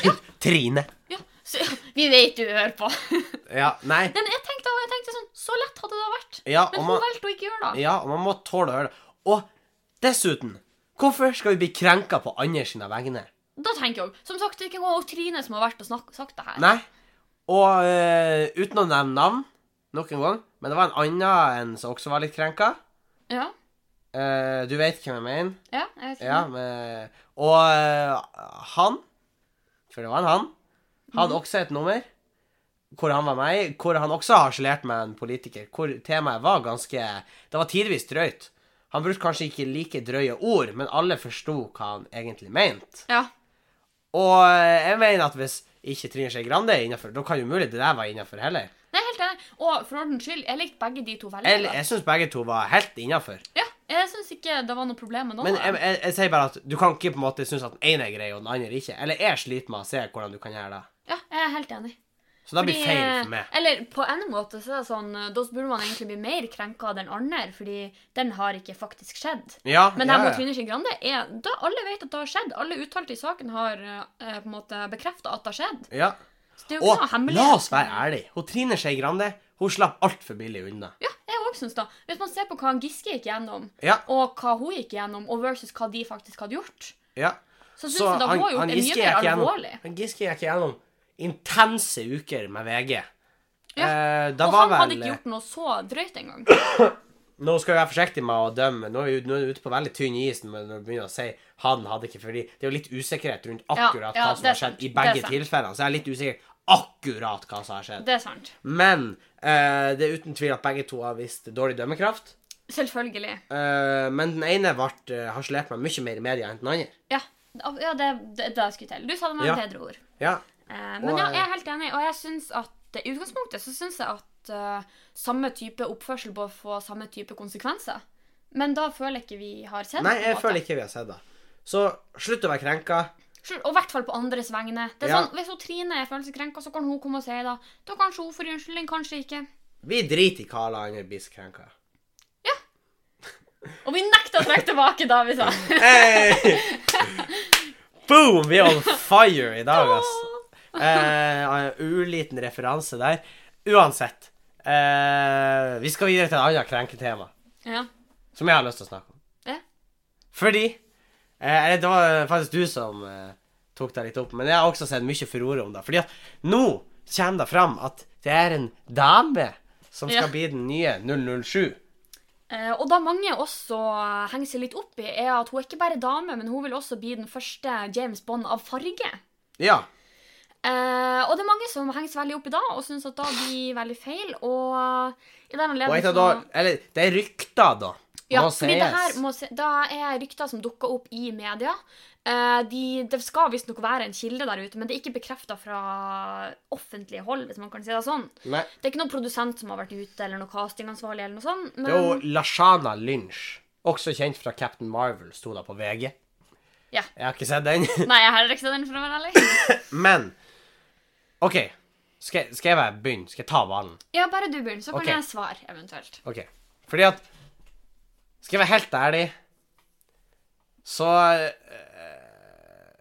[SPEAKER 1] det. Trine.
[SPEAKER 2] Ja, så, Vi vet du hører på. Nei,
[SPEAKER 1] Ja, nei.
[SPEAKER 2] men jeg tenkte, jeg tenkte sånn Så lett hadde det vært.
[SPEAKER 1] Ja,
[SPEAKER 2] Men
[SPEAKER 1] og
[SPEAKER 2] hun
[SPEAKER 1] man,
[SPEAKER 2] valgte å ikke gjøre det.
[SPEAKER 1] Ja, og man må tåle å høre det. Og dessuten, hvorfor skal vi bli krenka på andre sine vegne?
[SPEAKER 2] Da tenker jeg også, Som sagt, det er ikke engang Trine som har vært og snak- sagt det her.
[SPEAKER 1] Nei. Og eh, uten å nevne navn nok en gang, men det var en annen en som også var litt krenka.
[SPEAKER 2] Ja,
[SPEAKER 1] Eh, du vet hvem jeg mener.
[SPEAKER 2] ja, jeg vet ikke.
[SPEAKER 1] Ja, men, og eh, han For det var en han. Hadde også et nummer hvor han var med i, hvor han også harselerte med en politiker. Hvor temaet var ganske Det var tidvis drøyt. Han brukte kanskje ikke like drøye ord, men alle forsto hva han egentlig mente.
[SPEAKER 2] Ja.
[SPEAKER 1] Og eh, jeg mener at hvis ikke Trine Skei Grande er innafor, da kan jo mulig det der være innafor heller.
[SPEAKER 2] Nei, helt enig. Og for ordens skyld, jeg likte begge de to veldig
[SPEAKER 1] Jeg,
[SPEAKER 2] godt.
[SPEAKER 1] jeg syns begge to var helt innafor.
[SPEAKER 2] Ja, jeg syns ikke det var noe problem med noen
[SPEAKER 1] Men
[SPEAKER 2] av
[SPEAKER 1] jeg,
[SPEAKER 2] dem.
[SPEAKER 1] jeg, jeg sier bare at du kan ikke på en måte synes at den ene er grei, og den andre ikke. Eller jeg sliter med å se hvordan du kan gjøre det.
[SPEAKER 2] Ja, jeg er helt enig.
[SPEAKER 1] Så det blir
[SPEAKER 2] Fordi, eh,
[SPEAKER 1] feil for meg.
[SPEAKER 2] Eller på en måte så er det sånn Da burde man egentlig bli mer krenka av den andre, fordi den har ikke faktisk skjedd.
[SPEAKER 1] Ja,
[SPEAKER 2] Men det
[SPEAKER 1] ja,
[SPEAKER 2] her
[SPEAKER 1] ja.
[SPEAKER 2] mot Trine Skei Grande er da Alle vet at det har skjedd. Alle uttalte i saken har eh, på en måte bekrefta at det har skjedd.
[SPEAKER 1] ja.
[SPEAKER 2] Så det er jo ikke noe
[SPEAKER 1] Og
[SPEAKER 2] hemmelig.
[SPEAKER 1] la oss være ærlige. Hun Trine Skei Grande hun slapp altfor billig unna.
[SPEAKER 2] Ja, jeg òg syns det. Hvis man ser på hva han Giske gikk gjennom,
[SPEAKER 1] Ja,
[SPEAKER 2] og hva hun gikk gjennom, og versus hva de faktisk hadde gjort,
[SPEAKER 1] ja.
[SPEAKER 2] så syns jeg da hun har gjort det mye mer
[SPEAKER 1] gikk gjennom,
[SPEAKER 2] alvorlig.
[SPEAKER 1] han Giske gikk gjennom intense uker med VG.
[SPEAKER 2] Ja.
[SPEAKER 1] Eh, da
[SPEAKER 2] Og
[SPEAKER 1] var
[SPEAKER 2] han hadde
[SPEAKER 1] vel-
[SPEAKER 2] ikke gjort noe så drøyt engang.
[SPEAKER 1] Nå skal vi være forsiktige med å dømme. Nå er vi, nå er vi ute på veldig tynn is når vi begynner å si han hadde ikke fordi Det er jo litt usikkerhet rundt akkurat
[SPEAKER 2] ja,
[SPEAKER 1] hva som
[SPEAKER 2] det er
[SPEAKER 1] har skjedd
[SPEAKER 2] sant.
[SPEAKER 1] i begge
[SPEAKER 2] Det er sant.
[SPEAKER 1] tilfellene. Så jeg er litt usikker akkurat hva som har skjedd.
[SPEAKER 2] Det er sant.
[SPEAKER 1] Men eh, det er uten tvil at begge to har vist dårlig dømmekraft.
[SPEAKER 2] Selvfølgelig.
[SPEAKER 1] Eh, men den ene ble uh, harselert med mye mer i media enn den andre.
[SPEAKER 2] Ja, ja det, det, det skulle til. Du sa det med
[SPEAKER 1] Ja.
[SPEAKER 2] bedre ord.
[SPEAKER 1] Ja.
[SPEAKER 2] Eh, men
[SPEAKER 1] Og,
[SPEAKER 2] ja, jeg
[SPEAKER 1] eh,
[SPEAKER 2] er helt enig, og jeg synes at i utgangspunktet så syns jeg at eh, samme type oppførsel bør få samme type konsekvenser. Men da føler jeg ikke vi har sett
[SPEAKER 1] Nei, jeg føler ikke vi har sett det. Så slutt å være krenka.
[SPEAKER 2] Og i hvert fall på andres vegne. Det er
[SPEAKER 1] Ja.
[SPEAKER 2] sånn, Hvis hun Trine er følelseskrenka, så kan hun komme og si det. Da kanskje hun får unnskyldning, kanskje ikke.
[SPEAKER 1] Vi driter i hva alle andre blir så krenka.
[SPEAKER 2] Og vi nekter å trekke tilbake da vi sa
[SPEAKER 1] Hey! Boom! Vi er on fire i dag, ass. Eh, uliten referanse der. Uansett. Eh, vi skal videre til et annet krenketema
[SPEAKER 2] ja.
[SPEAKER 1] som jeg har lyst til å snakke om.
[SPEAKER 2] Ja.
[SPEAKER 1] Fordi eh, eller Det var faktisk du som eh, tok det litt opp, men jeg har også sett mye furore om det. Fordi at nå kommer det fram at det er en dame som skal
[SPEAKER 2] Ja.
[SPEAKER 1] bli den nye 007.
[SPEAKER 2] Eh, og da mange også henger seg litt opp i, er at hun er ikke bare dame, men hun vil også bli den første James Bond av farge.
[SPEAKER 1] Ja.
[SPEAKER 2] Eh, og det er mange som henger seg veldig opp i da, og syns at da blir veldig feil. Og i
[SPEAKER 1] Og
[SPEAKER 2] den
[SPEAKER 1] jeg
[SPEAKER 2] anledning
[SPEAKER 1] tar da, eller, det er rykter, da.
[SPEAKER 2] Ja,
[SPEAKER 1] Må
[SPEAKER 2] fordi det her
[SPEAKER 1] sies.
[SPEAKER 2] må, se- da er rykter som dukker opp i media. Eh, de, det skal visstnok være en kilde der ute, men det er ikke bekrefta fra offentlige hold. hvis man kan si Det sånn.
[SPEAKER 1] Nei.
[SPEAKER 2] Det er ikke noen produsent som har vært ute, eller noen castingansvarlig, eller noe sånt.
[SPEAKER 1] Det er jo
[SPEAKER 2] Men
[SPEAKER 1] Lashana Lynch, også kjent fra Captain Marvel, sto da på VG.
[SPEAKER 2] Ja.
[SPEAKER 1] Jeg har ikke sett den.
[SPEAKER 2] Nei, jeg har heller ikke sett den, for å være ærlig.
[SPEAKER 1] Men OK. Skal, jeg- skal jeg bare begynne? Skal jeg ta ballen?
[SPEAKER 2] Ja, bare du begynn, så kan
[SPEAKER 1] Ok.
[SPEAKER 2] jeg svare, eventuelt.
[SPEAKER 1] OK. Fordi at Skal jeg være helt ærlig, så eh,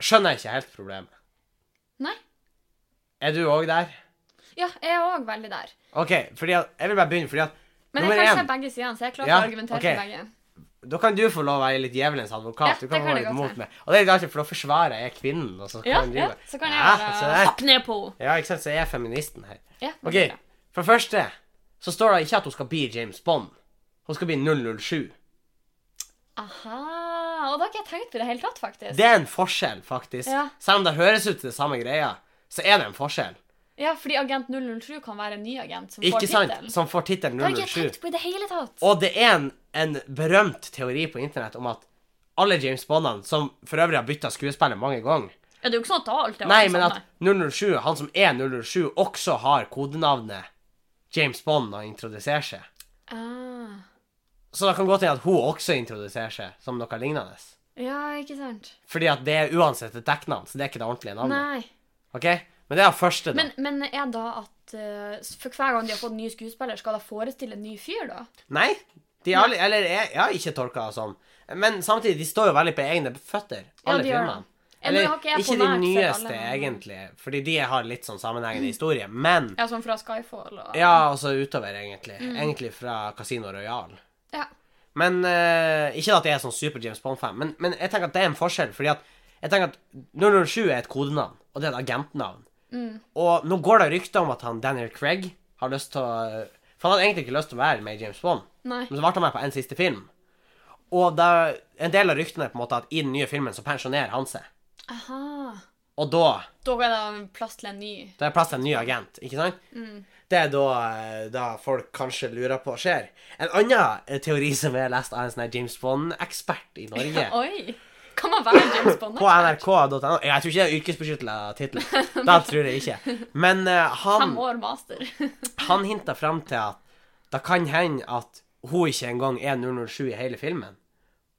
[SPEAKER 1] skjønner jeg ikke helt problemet.
[SPEAKER 2] Nei.
[SPEAKER 1] Er du òg der?
[SPEAKER 2] Ja, jeg er òg veldig der.
[SPEAKER 1] OK, fordi at Jeg vil bare begynne, fordi at
[SPEAKER 2] Men
[SPEAKER 1] Nummer
[SPEAKER 2] jeg kan
[SPEAKER 1] én.
[SPEAKER 2] se begge sidene, så jeg er klar
[SPEAKER 1] Ja,
[SPEAKER 2] til å argumentere
[SPEAKER 1] ok.
[SPEAKER 2] for begge.
[SPEAKER 1] Da kan du få lov å være litt djevelens advokat.
[SPEAKER 2] Ja,
[SPEAKER 1] du kan
[SPEAKER 2] det kan
[SPEAKER 1] være
[SPEAKER 2] jeg
[SPEAKER 1] litt
[SPEAKER 2] godt
[SPEAKER 1] mot
[SPEAKER 2] være.
[SPEAKER 1] meg. Og det er litt artig, for da forsvarer jeg kvinnen. Og så kan
[SPEAKER 2] Ja,
[SPEAKER 1] du
[SPEAKER 2] ja,
[SPEAKER 1] bare-
[SPEAKER 2] så kan
[SPEAKER 1] Ja, se
[SPEAKER 2] jeg bare
[SPEAKER 1] der.
[SPEAKER 2] happe ned på henne.
[SPEAKER 1] Ja, ikke sant, så jeg er feministen her.
[SPEAKER 2] Ja, det
[SPEAKER 1] Ok,
[SPEAKER 2] blir bra.
[SPEAKER 1] for det første så står det ikke at hun skal bli James Bond. Hun skal bli 007.
[SPEAKER 2] Aha. Og da har ikke jeg tenkt på det i det hele tatt, faktisk.
[SPEAKER 1] Det er en forskjell, faktisk.
[SPEAKER 2] Ja.
[SPEAKER 1] Selv om det høres ut til det samme greia, så er det en forskjell.
[SPEAKER 2] Ja, fordi agent 007 kan være en ny agent som får
[SPEAKER 1] Ikke sant?
[SPEAKER 2] tittelen.
[SPEAKER 1] Som får tittelen
[SPEAKER 2] Det har ikke jeg
[SPEAKER 1] 007.
[SPEAKER 2] tenkt på i det hele tatt.
[SPEAKER 1] Og det er en, en berømt teori på internett om at alle James Bondene, som for øvrig har bytta skuespiller mange ganger
[SPEAKER 2] Ja, det er jo ikke sånn at da alt er
[SPEAKER 1] Nei,
[SPEAKER 2] det
[SPEAKER 1] men at
[SPEAKER 2] samme.
[SPEAKER 1] 007, han som er 007, også har kodenavnet James Bond når han introduserer seg.
[SPEAKER 2] ah.
[SPEAKER 1] Så det kan godt hende at hun også introduserer seg som noe lignende.
[SPEAKER 2] Ja, ikke sant.
[SPEAKER 1] Fordi at det er uansett et dekknavn, så det er ikke det ordentlige navnet.
[SPEAKER 2] Nei.
[SPEAKER 1] Ok? Men det er første, da.
[SPEAKER 2] Men, men er da at eh, for hver gang de har fått en ny skuespiller, skal da forestille en ny fyr, da?
[SPEAKER 1] Nei? De har, eller jeg, jeg har ikke tolka det sånn. Men samtidig, de står jo veldig på egne føtter,
[SPEAKER 2] Ja,
[SPEAKER 1] alle
[SPEAKER 2] de gjør det.
[SPEAKER 1] filmene.
[SPEAKER 2] Ja, nå
[SPEAKER 1] Eller
[SPEAKER 2] har ikke jeg på
[SPEAKER 1] ikke de
[SPEAKER 2] nært sett alle, Mm.
[SPEAKER 1] nyeste,
[SPEAKER 2] men-
[SPEAKER 1] egentlig, fordi de har litt sånn sammenhengende historie. Men
[SPEAKER 2] Ja, sånn fra Skyfall og
[SPEAKER 1] ja, altså utover, egentlig. Egentlig fra Casino Royal.
[SPEAKER 2] Mm. Ja.
[SPEAKER 1] Men eh, Ikke at jeg er sånn super James Bond-fan, men, men jeg tenker at det er en forskjell. Fordi at jeg tenker at 007 er et kodenavn, og det er et agentnavn.
[SPEAKER 2] Mm.
[SPEAKER 1] Og nå går det rykter om at han Daniel Craig har lyst til å For han hadde egentlig ikke lyst til å være med i James Bond,
[SPEAKER 2] Nei.
[SPEAKER 1] men så ble han med på en siste film. Og da, en del av ryktene er på en måte at i den nye filmen så pensjonerer han seg.
[SPEAKER 2] Aha.
[SPEAKER 1] Og da,
[SPEAKER 2] Da er det plass til en ny.
[SPEAKER 1] da er det plass til en ny agent, ikke sant? Det er da, eh, da folk kanskje lurer på hva skjer. En annen eh, teori som jeg har lest av en sånn her James Bond-ekspert i Norge
[SPEAKER 2] Oi! Kan man være James Bond?
[SPEAKER 1] på nrk.no. Jeg tror ikke det er yrkesbeskyttelse av tittelen. Det tror jeg ikke. Men eh, han,
[SPEAKER 2] Fem år master.
[SPEAKER 1] han hinta fram til at det kan hende at hun ikke engang er 007 i hele filmen,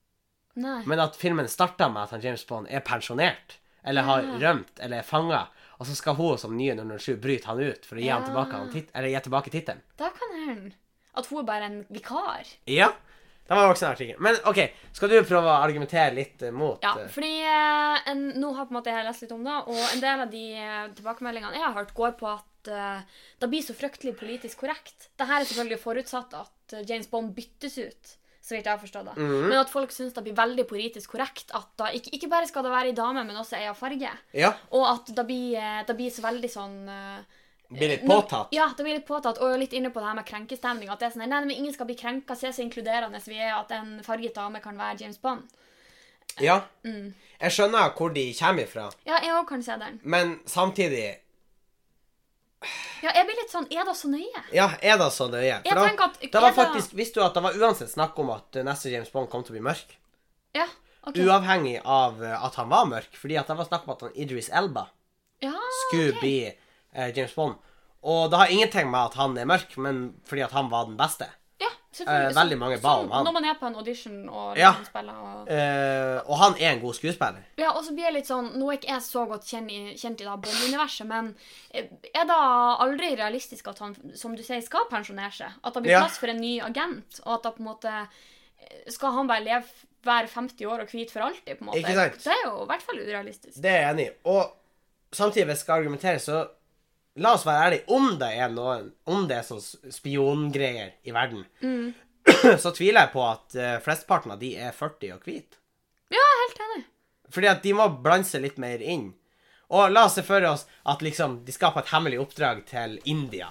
[SPEAKER 2] Nei.
[SPEAKER 1] men at filmen starta med at han James Bond er pensjonert, eller har rømt, eller er fanga, og så skal hun som nye 007 bryte han ut for å gi han
[SPEAKER 2] Ja.
[SPEAKER 1] tilbake han tit- eller gi tilbake tittelen.
[SPEAKER 2] Da kan hende at hun er bare en vikar.
[SPEAKER 1] Ja. Det var også en artikkel. Men OK, skal du prøve å argumentere litt eh, mot
[SPEAKER 2] Ja,
[SPEAKER 1] eh,
[SPEAKER 2] fordi eh, en, nå har på en måte jeg lest litt om det, og en del av de eh, tilbakemeldingene jeg har hørt, går på at eh, det blir så fryktelig politisk korrekt. Dette er selvfølgelig forutsatt at eh, James Bond byttes ut, så vidt jeg har forstått det.
[SPEAKER 1] Mhm.
[SPEAKER 2] Men at folk syns det blir veldig politisk korrekt at da, ikke, ikke bare skal det være ei dame, men også ei av farge.
[SPEAKER 1] Ja.
[SPEAKER 2] Og at det blir, eh, det blir så veldig sånn eh,
[SPEAKER 1] Blir litt
[SPEAKER 2] nå-
[SPEAKER 1] påtatt.
[SPEAKER 2] Ja, det blir litt påtatt, og litt inne på det her med krenkestemning. At det er sånn, nei, men ingen skal bli krenka, se så inkluderende vi er at en farget dame kan være James Bond.
[SPEAKER 1] Ja.
[SPEAKER 2] Mm.
[SPEAKER 1] Jeg skjønner hvor de kommer ifra,
[SPEAKER 2] Ja, jeg òg kan se den.
[SPEAKER 1] men samtidig
[SPEAKER 2] Ja, jeg blir litt sånn Er det så nøye?
[SPEAKER 1] Ja, er det så nøye? For
[SPEAKER 2] Jeg
[SPEAKER 1] da,
[SPEAKER 2] tenker at-
[SPEAKER 1] det var
[SPEAKER 2] er det-
[SPEAKER 1] faktisk, Visste du at det var uansett snakk om at eh, neste James Bond kom til å bli mørk?
[SPEAKER 2] Ja. ok.
[SPEAKER 1] Uavhengig av eh, at han var mørk, fordi at det var snakk om at han Idris Elba
[SPEAKER 2] Ja,
[SPEAKER 1] skulle
[SPEAKER 2] ok.
[SPEAKER 1] bli eh, James Bond. Og det har ingenting med at han er mørk, men fordi at han var den beste.
[SPEAKER 2] ja, selvfølgelig.
[SPEAKER 1] eh, veldig mange ba om
[SPEAKER 2] Sånn
[SPEAKER 1] han.
[SPEAKER 2] Når man er på en audition og
[SPEAKER 1] Ja.
[SPEAKER 2] liksom spiller og
[SPEAKER 1] Eh, og han er en god skuespiller.
[SPEAKER 2] Ja, og så blir jeg litt sånn Nå er ikke jeg så godt kjent i, kjent i det Bond-universet, men eh, er det aldri realistisk at han, som du sier, skal pensjonere seg? At det blir
[SPEAKER 1] Ja.
[SPEAKER 2] plass for en ny agent, og at da på en måte eh, Skal han bare leve være 50 år og hvit for alltid, på en måte?
[SPEAKER 1] Ikke sant?
[SPEAKER 2] Det er jo i hvert fall urealistisk.
[SPEAKER 1] Det er jeg enig i. Og samtidig, hvis jeg skal argumentere, så La oss være ærlige. Om det er noen Om det er sånn spiongreier i verden,
[SPEAKER 2] Mm.
[SPEAKER 1] så tviler jeg på at eh, flesteparten av de er 40 og hvite.
[SPEAKER 2] Ja, jeg er helt enig.
[SPEAKER 1] Fordi at de må blande seg litt mer inn. Og la oss se for oss at liksom de skal på et hemmelig oppdrag til India.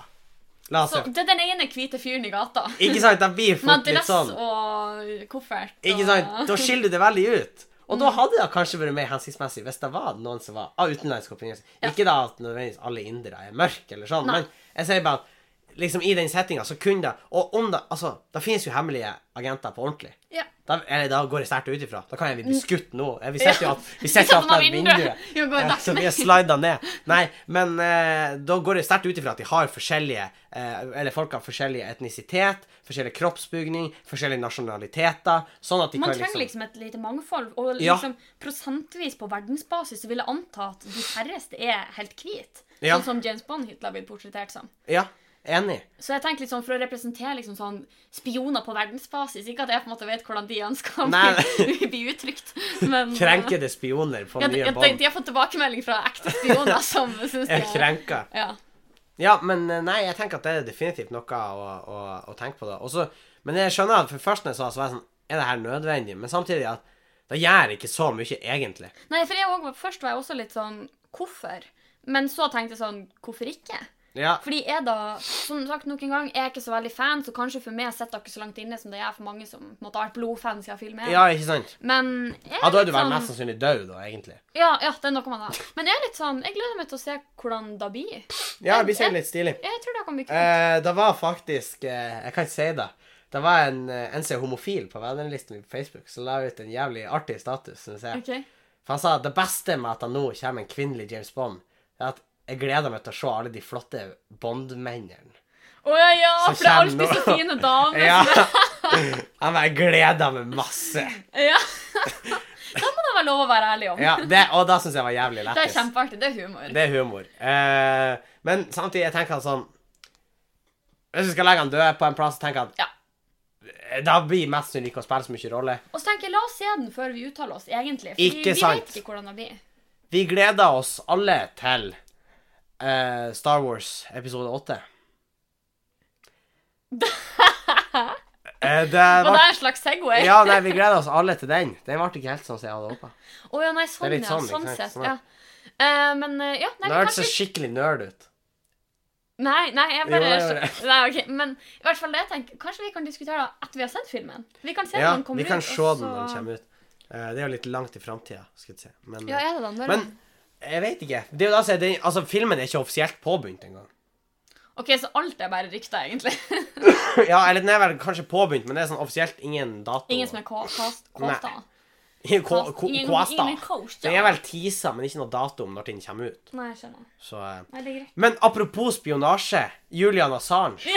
[SPEAKER 1] La oss
[SPEAKER 2] Så
[SPEAKER 1] se.
[SPEAKER 2] det er den ene hvite fyren i gata.
[SPEAKER 1] Ikke sant? Det blir
[SPEAKER 2] Med
[SPEAKER 1] fort litt
[SPEAKER 2] dress
[SPEAKER 1] sånn.
[SPEAKER 2] og koffert.
[SPEAKER 1] Ikke sant? Da skiller du det veldig ut. Og da hadde det kanskje vært mer hensiktsmessig hvis det var noen som var av utenlandsk opprinnelse. Ikke da at nødvendigvis alle indere er mørke eller sånn,
[SPEAKER 2] Nei.
[SPEAKER 1] men jeg sier bare at liksom i den settinga, så kunne det Og om det Altså, det finnes jo hemmelige agenter på ordentlig.
[SPEAKER 2] Ja.
[SPEAKER 1] Da, eller da går jeg sterkt ut ifra. Da kan jeg bli skutt nå. Eh, Vi setter jo at Vi setter
[SPEAKER 2] Satt
[SPEAKER 1] jo
[SPEAKER 2] man
[SPEAKER 1] at det er
[SPEAKER 2] vinduet.
[SPEAKER 1] vinduet.
[SPEAKER 2] Jo, går
[SPEAKER 1] Ja,
[SPEAKER 2] dags
[SPEAKER 1] så vi
[SPEAKER 2] ned.
[SPEAKER 1] har slida ned. Nei, men eh, da går det sterkt ut ifra at de har forskjellige eh, Eller folk har forskjellig etnisitet, forskjellig kroppsbygning, forskjellige nasjonaliteter. Sånn at de
[SPEAKER 2] Man
[SPEAKER 1] kan
[SPEAKER 2] trenger
[SPEAKER 1] liksom
[SPEAKER 2] liksom et lite mangfold. Og
[SPEAKER 1] Ja.
[SPEAKER 2] liksom prosentvis på verdensbasis så vil jeg anta at de færreste er helt hvite.
[SPEAKER 1] Ja.
[SPEAKER 2] Sånn som James Bond hittil har blitt portrettert som.
[SPEAKER 1] Ja, enig.
[SPEAKER 2] Så jeg tenker litt sånn for å representere liksom sånn spioner på verdensbasis Ikke at jeg på en måte vet hvordan de ønsker å
[SPEAKER 1] Nei,
[SPEAKER 2] bli bli uttrykt, men eh,
[SPEAKER 1] Krenkede spioner på
[SPEAKER 2] ja, de,
[SPEAKER 1] nye
[SPEAKER 2] ja, de,
[SPEAKER 1] bånd
[SPEAKER 2] de har fått tilbakemelding fra ekte spioner som syns det
[SPEAKER 1] er krenka.
[SPEAKER 2] ja.
[SPEAKER 1] Ja, men eh, nei, jeg tenker at det er definitivt noe å, å, å tenke på. da Også, Men jeg skjønner at for først når jeg sa det, så var jeg sånn Er det her nødvendig? Men samtidig at det gjør ikke så mye, egentlig.
[SPEAKER 2] Nei, for jeg også, var- først var jeg også litt sånn Hvorfor? Men så tenkte jeg sånn Hvorfor ikke?
[SPEAKER 1] Ja,
[SPEAKER 2] Fordi jeg da, som sagt nok en gang, jeg er ikke så veldig fan, så kanskje for meg sitter det ikke så langt inne som det er for mange som på en måte, har vært blodfans av filmen.
[SPEAKER 1] ja ikke sant?
[SPEAKER 2] Men jeg
[SPEAKER 1] Ja, da er du
[SPEAKER 2] litt
[SPEAKER 1] vel
[SPEAKER 2] sånn-
[SPEAKER 1] mest sannsynlig død, da, egentlig.
[SPEAKER 2] Ja, ja, det er noe man har. Men jeg er litt sånn, jeg gleder meg til å se hvordan det blir.
[SPEAKER 1] Ja, vi ser litt stilig.
[SPEAKER 2] Jeg tror det kan bli kult.
[SPEAKER 1] Eh, det var faktisk eh, Jeg kan ikke si det. Det var en, eh, en som er homofil på vennelisten min på Facebook, som la ut en jævlig artig status. Synes jeg.
[SPEAKER 2] Ok.
[SPEAKER 1] For han sa at det beste med at det nå kommer en kvinnelig James Bond, er at jeg gleder meg til å se alle de flotte Bond-mennene.
[SPEAKER 2] Å ja, ja,
[SPEAKER 1] Så
[SPEAKER 2] for det er
[SPEAKER 1] kjenner
[SPEAKER 2] alltid så
[SPEAKER 1] du-
[SPEAKER 2] fine damer.
[SPEAKER 1] Ja. Han bare gleder meg masse.
[SPEAKER 2] Ja. Da må det være lov å være ærlig om.
[SPEAKER 1] Ja, det, og da syns jeg var jævlig
[SPEAKER 2] Det er
[SPEAKER 1] lættis.
[SPEAKER 2] kjempeartig. Det er humor.
[SPEAKER 1] Det er humor. Eh, men samtidig jeg tenker han sånn Hvis vi skal legge han død på en plass, så tenker jeg
[SPEAKER 2] Ja.
[SPEAKER 1] at da blir mest sannsynlig ikke å spille så mye rolle.
[SPEAKER 2] Og så tenker jeg, la oss se den før vi uttaler oss, egentlig.
[SPEAKER 1] Ikke
[SPEAKER 2] vi
[SPEAKER 1] sant.
[SPEAKER 2] vet ikke hvordan det blir.
[SPEAKER 1] Vi gleder oss alle til eh, Star Wars episode 8. Eh, det
[SPEAKER 2] Var
[SPEAKER 1] var,
[SPEAKER 2] det en slags Segway?
[SPEAKER 1] ja, nei, vi gleder oss alle til den. Den ble ikke helt sånn som jeg hadde håpa.
[SPEAKER 2] Å ja, nei,
[SPEAKER 1] Det
[SPEAKER 2] sånn,
[SPEAKER 1] er litt
[SPEAKER 2] ja.
[SPEAKER 1] sånn,
[SPEAKER 2] Sånn
[SPEAKER 1] ikke sant?
[SPEAKER 2] sett.
[SPEAKER 1] Sånn, ja.
[SPEAKER 2] Ja. Eh, men eh, ja, nei,
[SPEAKER 1] Det
[SPEAKER 2] vi
[SPEAKER 1] hørtes
[SPEAKER 2] kanskje
[SPEAKER 1] så skikkelig nerd ut.
[SPEAKER 2] Nei, nei, jeg
[SPEAKER 1] Jo,
[SPEAKER 2] bare
[SPEAKER 1] jeg gjør
[SPEAKER 2] Nei, ok, Men i hvert fall det jeg tenker Kanskje vi kan diskutere det etter vi har sett filmen? Vi kan se
[SPEAKER 1] Ja,
[SPEAKER 2] når den kommer
[SPEAKER 1] vi kan
[SPEAKER 2] ut,
[SPEAKER 1] se
[SPEAKER 2] og
[SPEAKER 1] den når den
[SPEAKER 2] så-
[SPEAKER 1] kommer ut. Eh, det er jo litt langt i framtida, skal jeg si. Men,
[SPEAKER 2] Ja, er det den? Når
[SPEAKER 1] men jeg vet ikke. Det er jo da, så er det, altså, filmen er ikke offisielt påbegynt engang.
[SPEAKER 2] Ok, så alt er bare rykter, egentlig?
[SPEAKER 1] ja, eller den er vel kanskje påbegynt, men det er sånn offisielt ingen dato.
[SPEAKER 2] Ingen som er kå- kåst-
[SPEAKER 1] Nei.
[SPEAKER 2] kåta?
[SPEAKER 1] Ingen ko-
[SPEAKER 2] Kast-
[SPEAKER 1] ko-
[SPEAKER 2] ingen-
[SPEAKER 1] kåsta.
[SPEAKER 2] ingen kåsta.
[SPEAKER 1] Den er vel teasa, men ikke noe dato om når den kommer ut.
[SPEAKER 2] Nei, jeg skjønner.
[SPEAKER 1] Så, eh.
[SPEAKER 2] Nei, det er greit.
[SPEAKER 1] Men apropos spionasje. Julian Assange.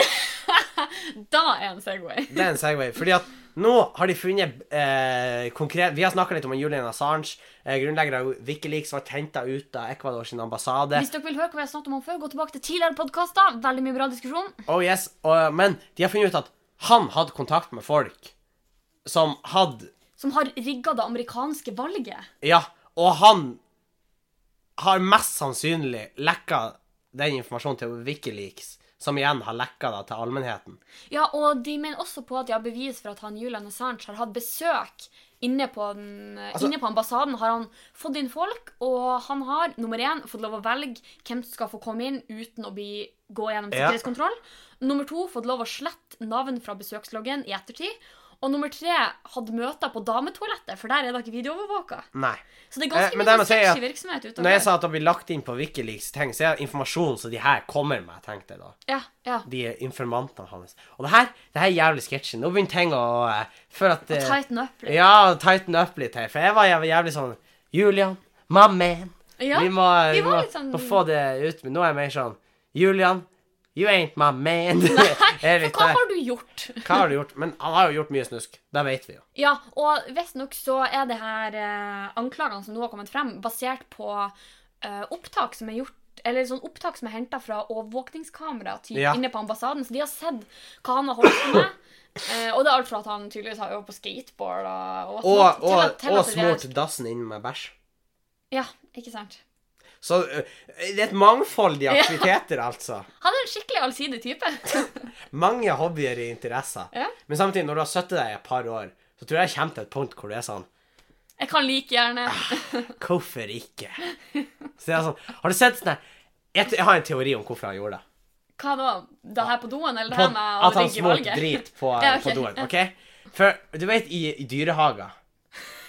[SPEAKER 2] Da er en Segway.
[SPEAKER 1] Det er en segway. Fordi at nå har de funnet eh, konkret Vi har snakka litt om Julian Assange. Eh, grunnlegger av Wikileaks ble henta ut av Ecuador sin ambassade.
[SPEAKER 2] Hvis dere vil høre hva vi har snakket om han før, gå tilbake til tidligere podkaster. Veldig mye bra diskusjon.
[SPEAKER 1] Oh yes, og, Men de har funnet ut at han hadde kontakt med folk som hadde
[SPEAKER 2] Som har rigga det amerikanske valget.
[SPEAKER 1] Ja, og han har mest sannsynlig lekka den informasjonen til Wikileaks, som igjen har lekka det til allmennheten.
[SPEAKER 2] Ja, og de mener også på at de har bevis for at han Julian Assange har hatt besøk inne på, den, eh,
[SPEAKER 1] Altså-
[SPEAKER 2] inne på ambassaden. Har han fått inn folk, og han har nummer én fått lov å velge hvem som skal få komme inn uten å bli, gå gjennom
[SPEAKER 1] Ja.
[SPEAKER 2] sikkerhetskontroll. Nummer to fått lov å slette navn fra besøksloggen i ettertid. Og nummer tre hadde møter på dametoalettet, for der er det ikke videoovervåka.
[SPEAKER 1] Nei.
[SPEAKER 2] Så det er
[SPEAKER 1] Eh,
[SPEAKER 2] ganske
[SPEAKER 1] men
[SPEAKER 2] mye
[SPEAKER 1] det må jeg si
[SPEAKER 2] sketsjy
[SPEAKER 1] at-
[SPEAKER 2] virksomhet ute og
[SPEAKER 1] Når jeg
[SPEAKER 2] går.
[SPEAKER 1] sa at det blir lagt inn på Wikileaks, ting, så er det informasjon som de her kommer med, tenkte jeg da.
[SPEAKER 2] Ja, ja.
[SPEAKER 1] De informantene hans. Og det her, det her er jævlig sketsjy. Nå begynner ting å eh, Før at eh,
[SPEAKER 2] Tighten up litt.
[SPEAKER 1] Ja, tighten up litt her. For jeg var jævlig, jævlig sånn Julian, my man.
[SPEAKER 2] Ja,
[SPEAKER 1] vi må, vi
[SPEAKER 2] vi
[SPEAKER 1] må,
[SPEAKER 2] var litt sånn-
[SPEAKER 1] må få det ut. Men nå er jeg mer sånn Julian, you ain't my man. Jeg er litt
[SPEAKER 2] For hva
[SPEAKER 1] der.
[SPEAKER 2] har du gjort?
[SPEAKER 1] hva har du gjort? Men han har jo gjort mye snusk. Det vet vi jo.
[SPEAKER 2] Ja, og visstnok så er det her eh, anklagene som nå har kommet frem, basert på eh, opptak som er gjort eller sånn opptak som er henta fra overvåkningskamera typ,
[SPEAKER 1] Ja.
[SPEAKER 2] inne på ambassaden. Så de har sett hva han har holdt på med. Eh, og det er alt fra at han tydeligvis har øvd på skateboard og, og,
[SPEAKER 1] Og,
[SPEAKER 2] sånt, til
[SPEAKER 1] og,
[SPEAKER 2] at- til
[SPEAKER 1] og
[SPEAKER 2] at det er-
[SPEAKER 1] smurt dassen inn med bæsj.
[SPEAKER 2] Ja, ikke sant.
[SPEAKER 1] Så ø, det er et mangfold i aktiviteter, altså.
[SPEAKER 2] Han er en skikkelig allsidig type.
[SPEAKER 1] Mange hobbyer i interesser.
[SPEAKER 2] Ja.
[SPEAKER 1] Men samtidig, når du har sittet deg i et par år, så tror jeg jeg kommer til et punkt hvor det er sånn
[SPEAKER 2] Jeg kan like gjerne
[SPEAKER 1] Hvorfor ikke? Så det er sånn, har du sett sånn her- jeg, jeg har en teori om hvorfor han gjorde det.
[SPEAKER 2] Hva da? Det her på doen, eller det
[SPEAKER 1] På,
[SPEAKER 2] her med å
[SPEAKER 1] at han
[SPEAKER 2] rigge
[SPEAKER 1] smurte
[SPEAKER 2] valget?
[SPEAKER 1] drit på,
[SPEAKER 2] Ja, ok.
[SPEAKER 1] på doen. ok? For du vet, i, i dyrehager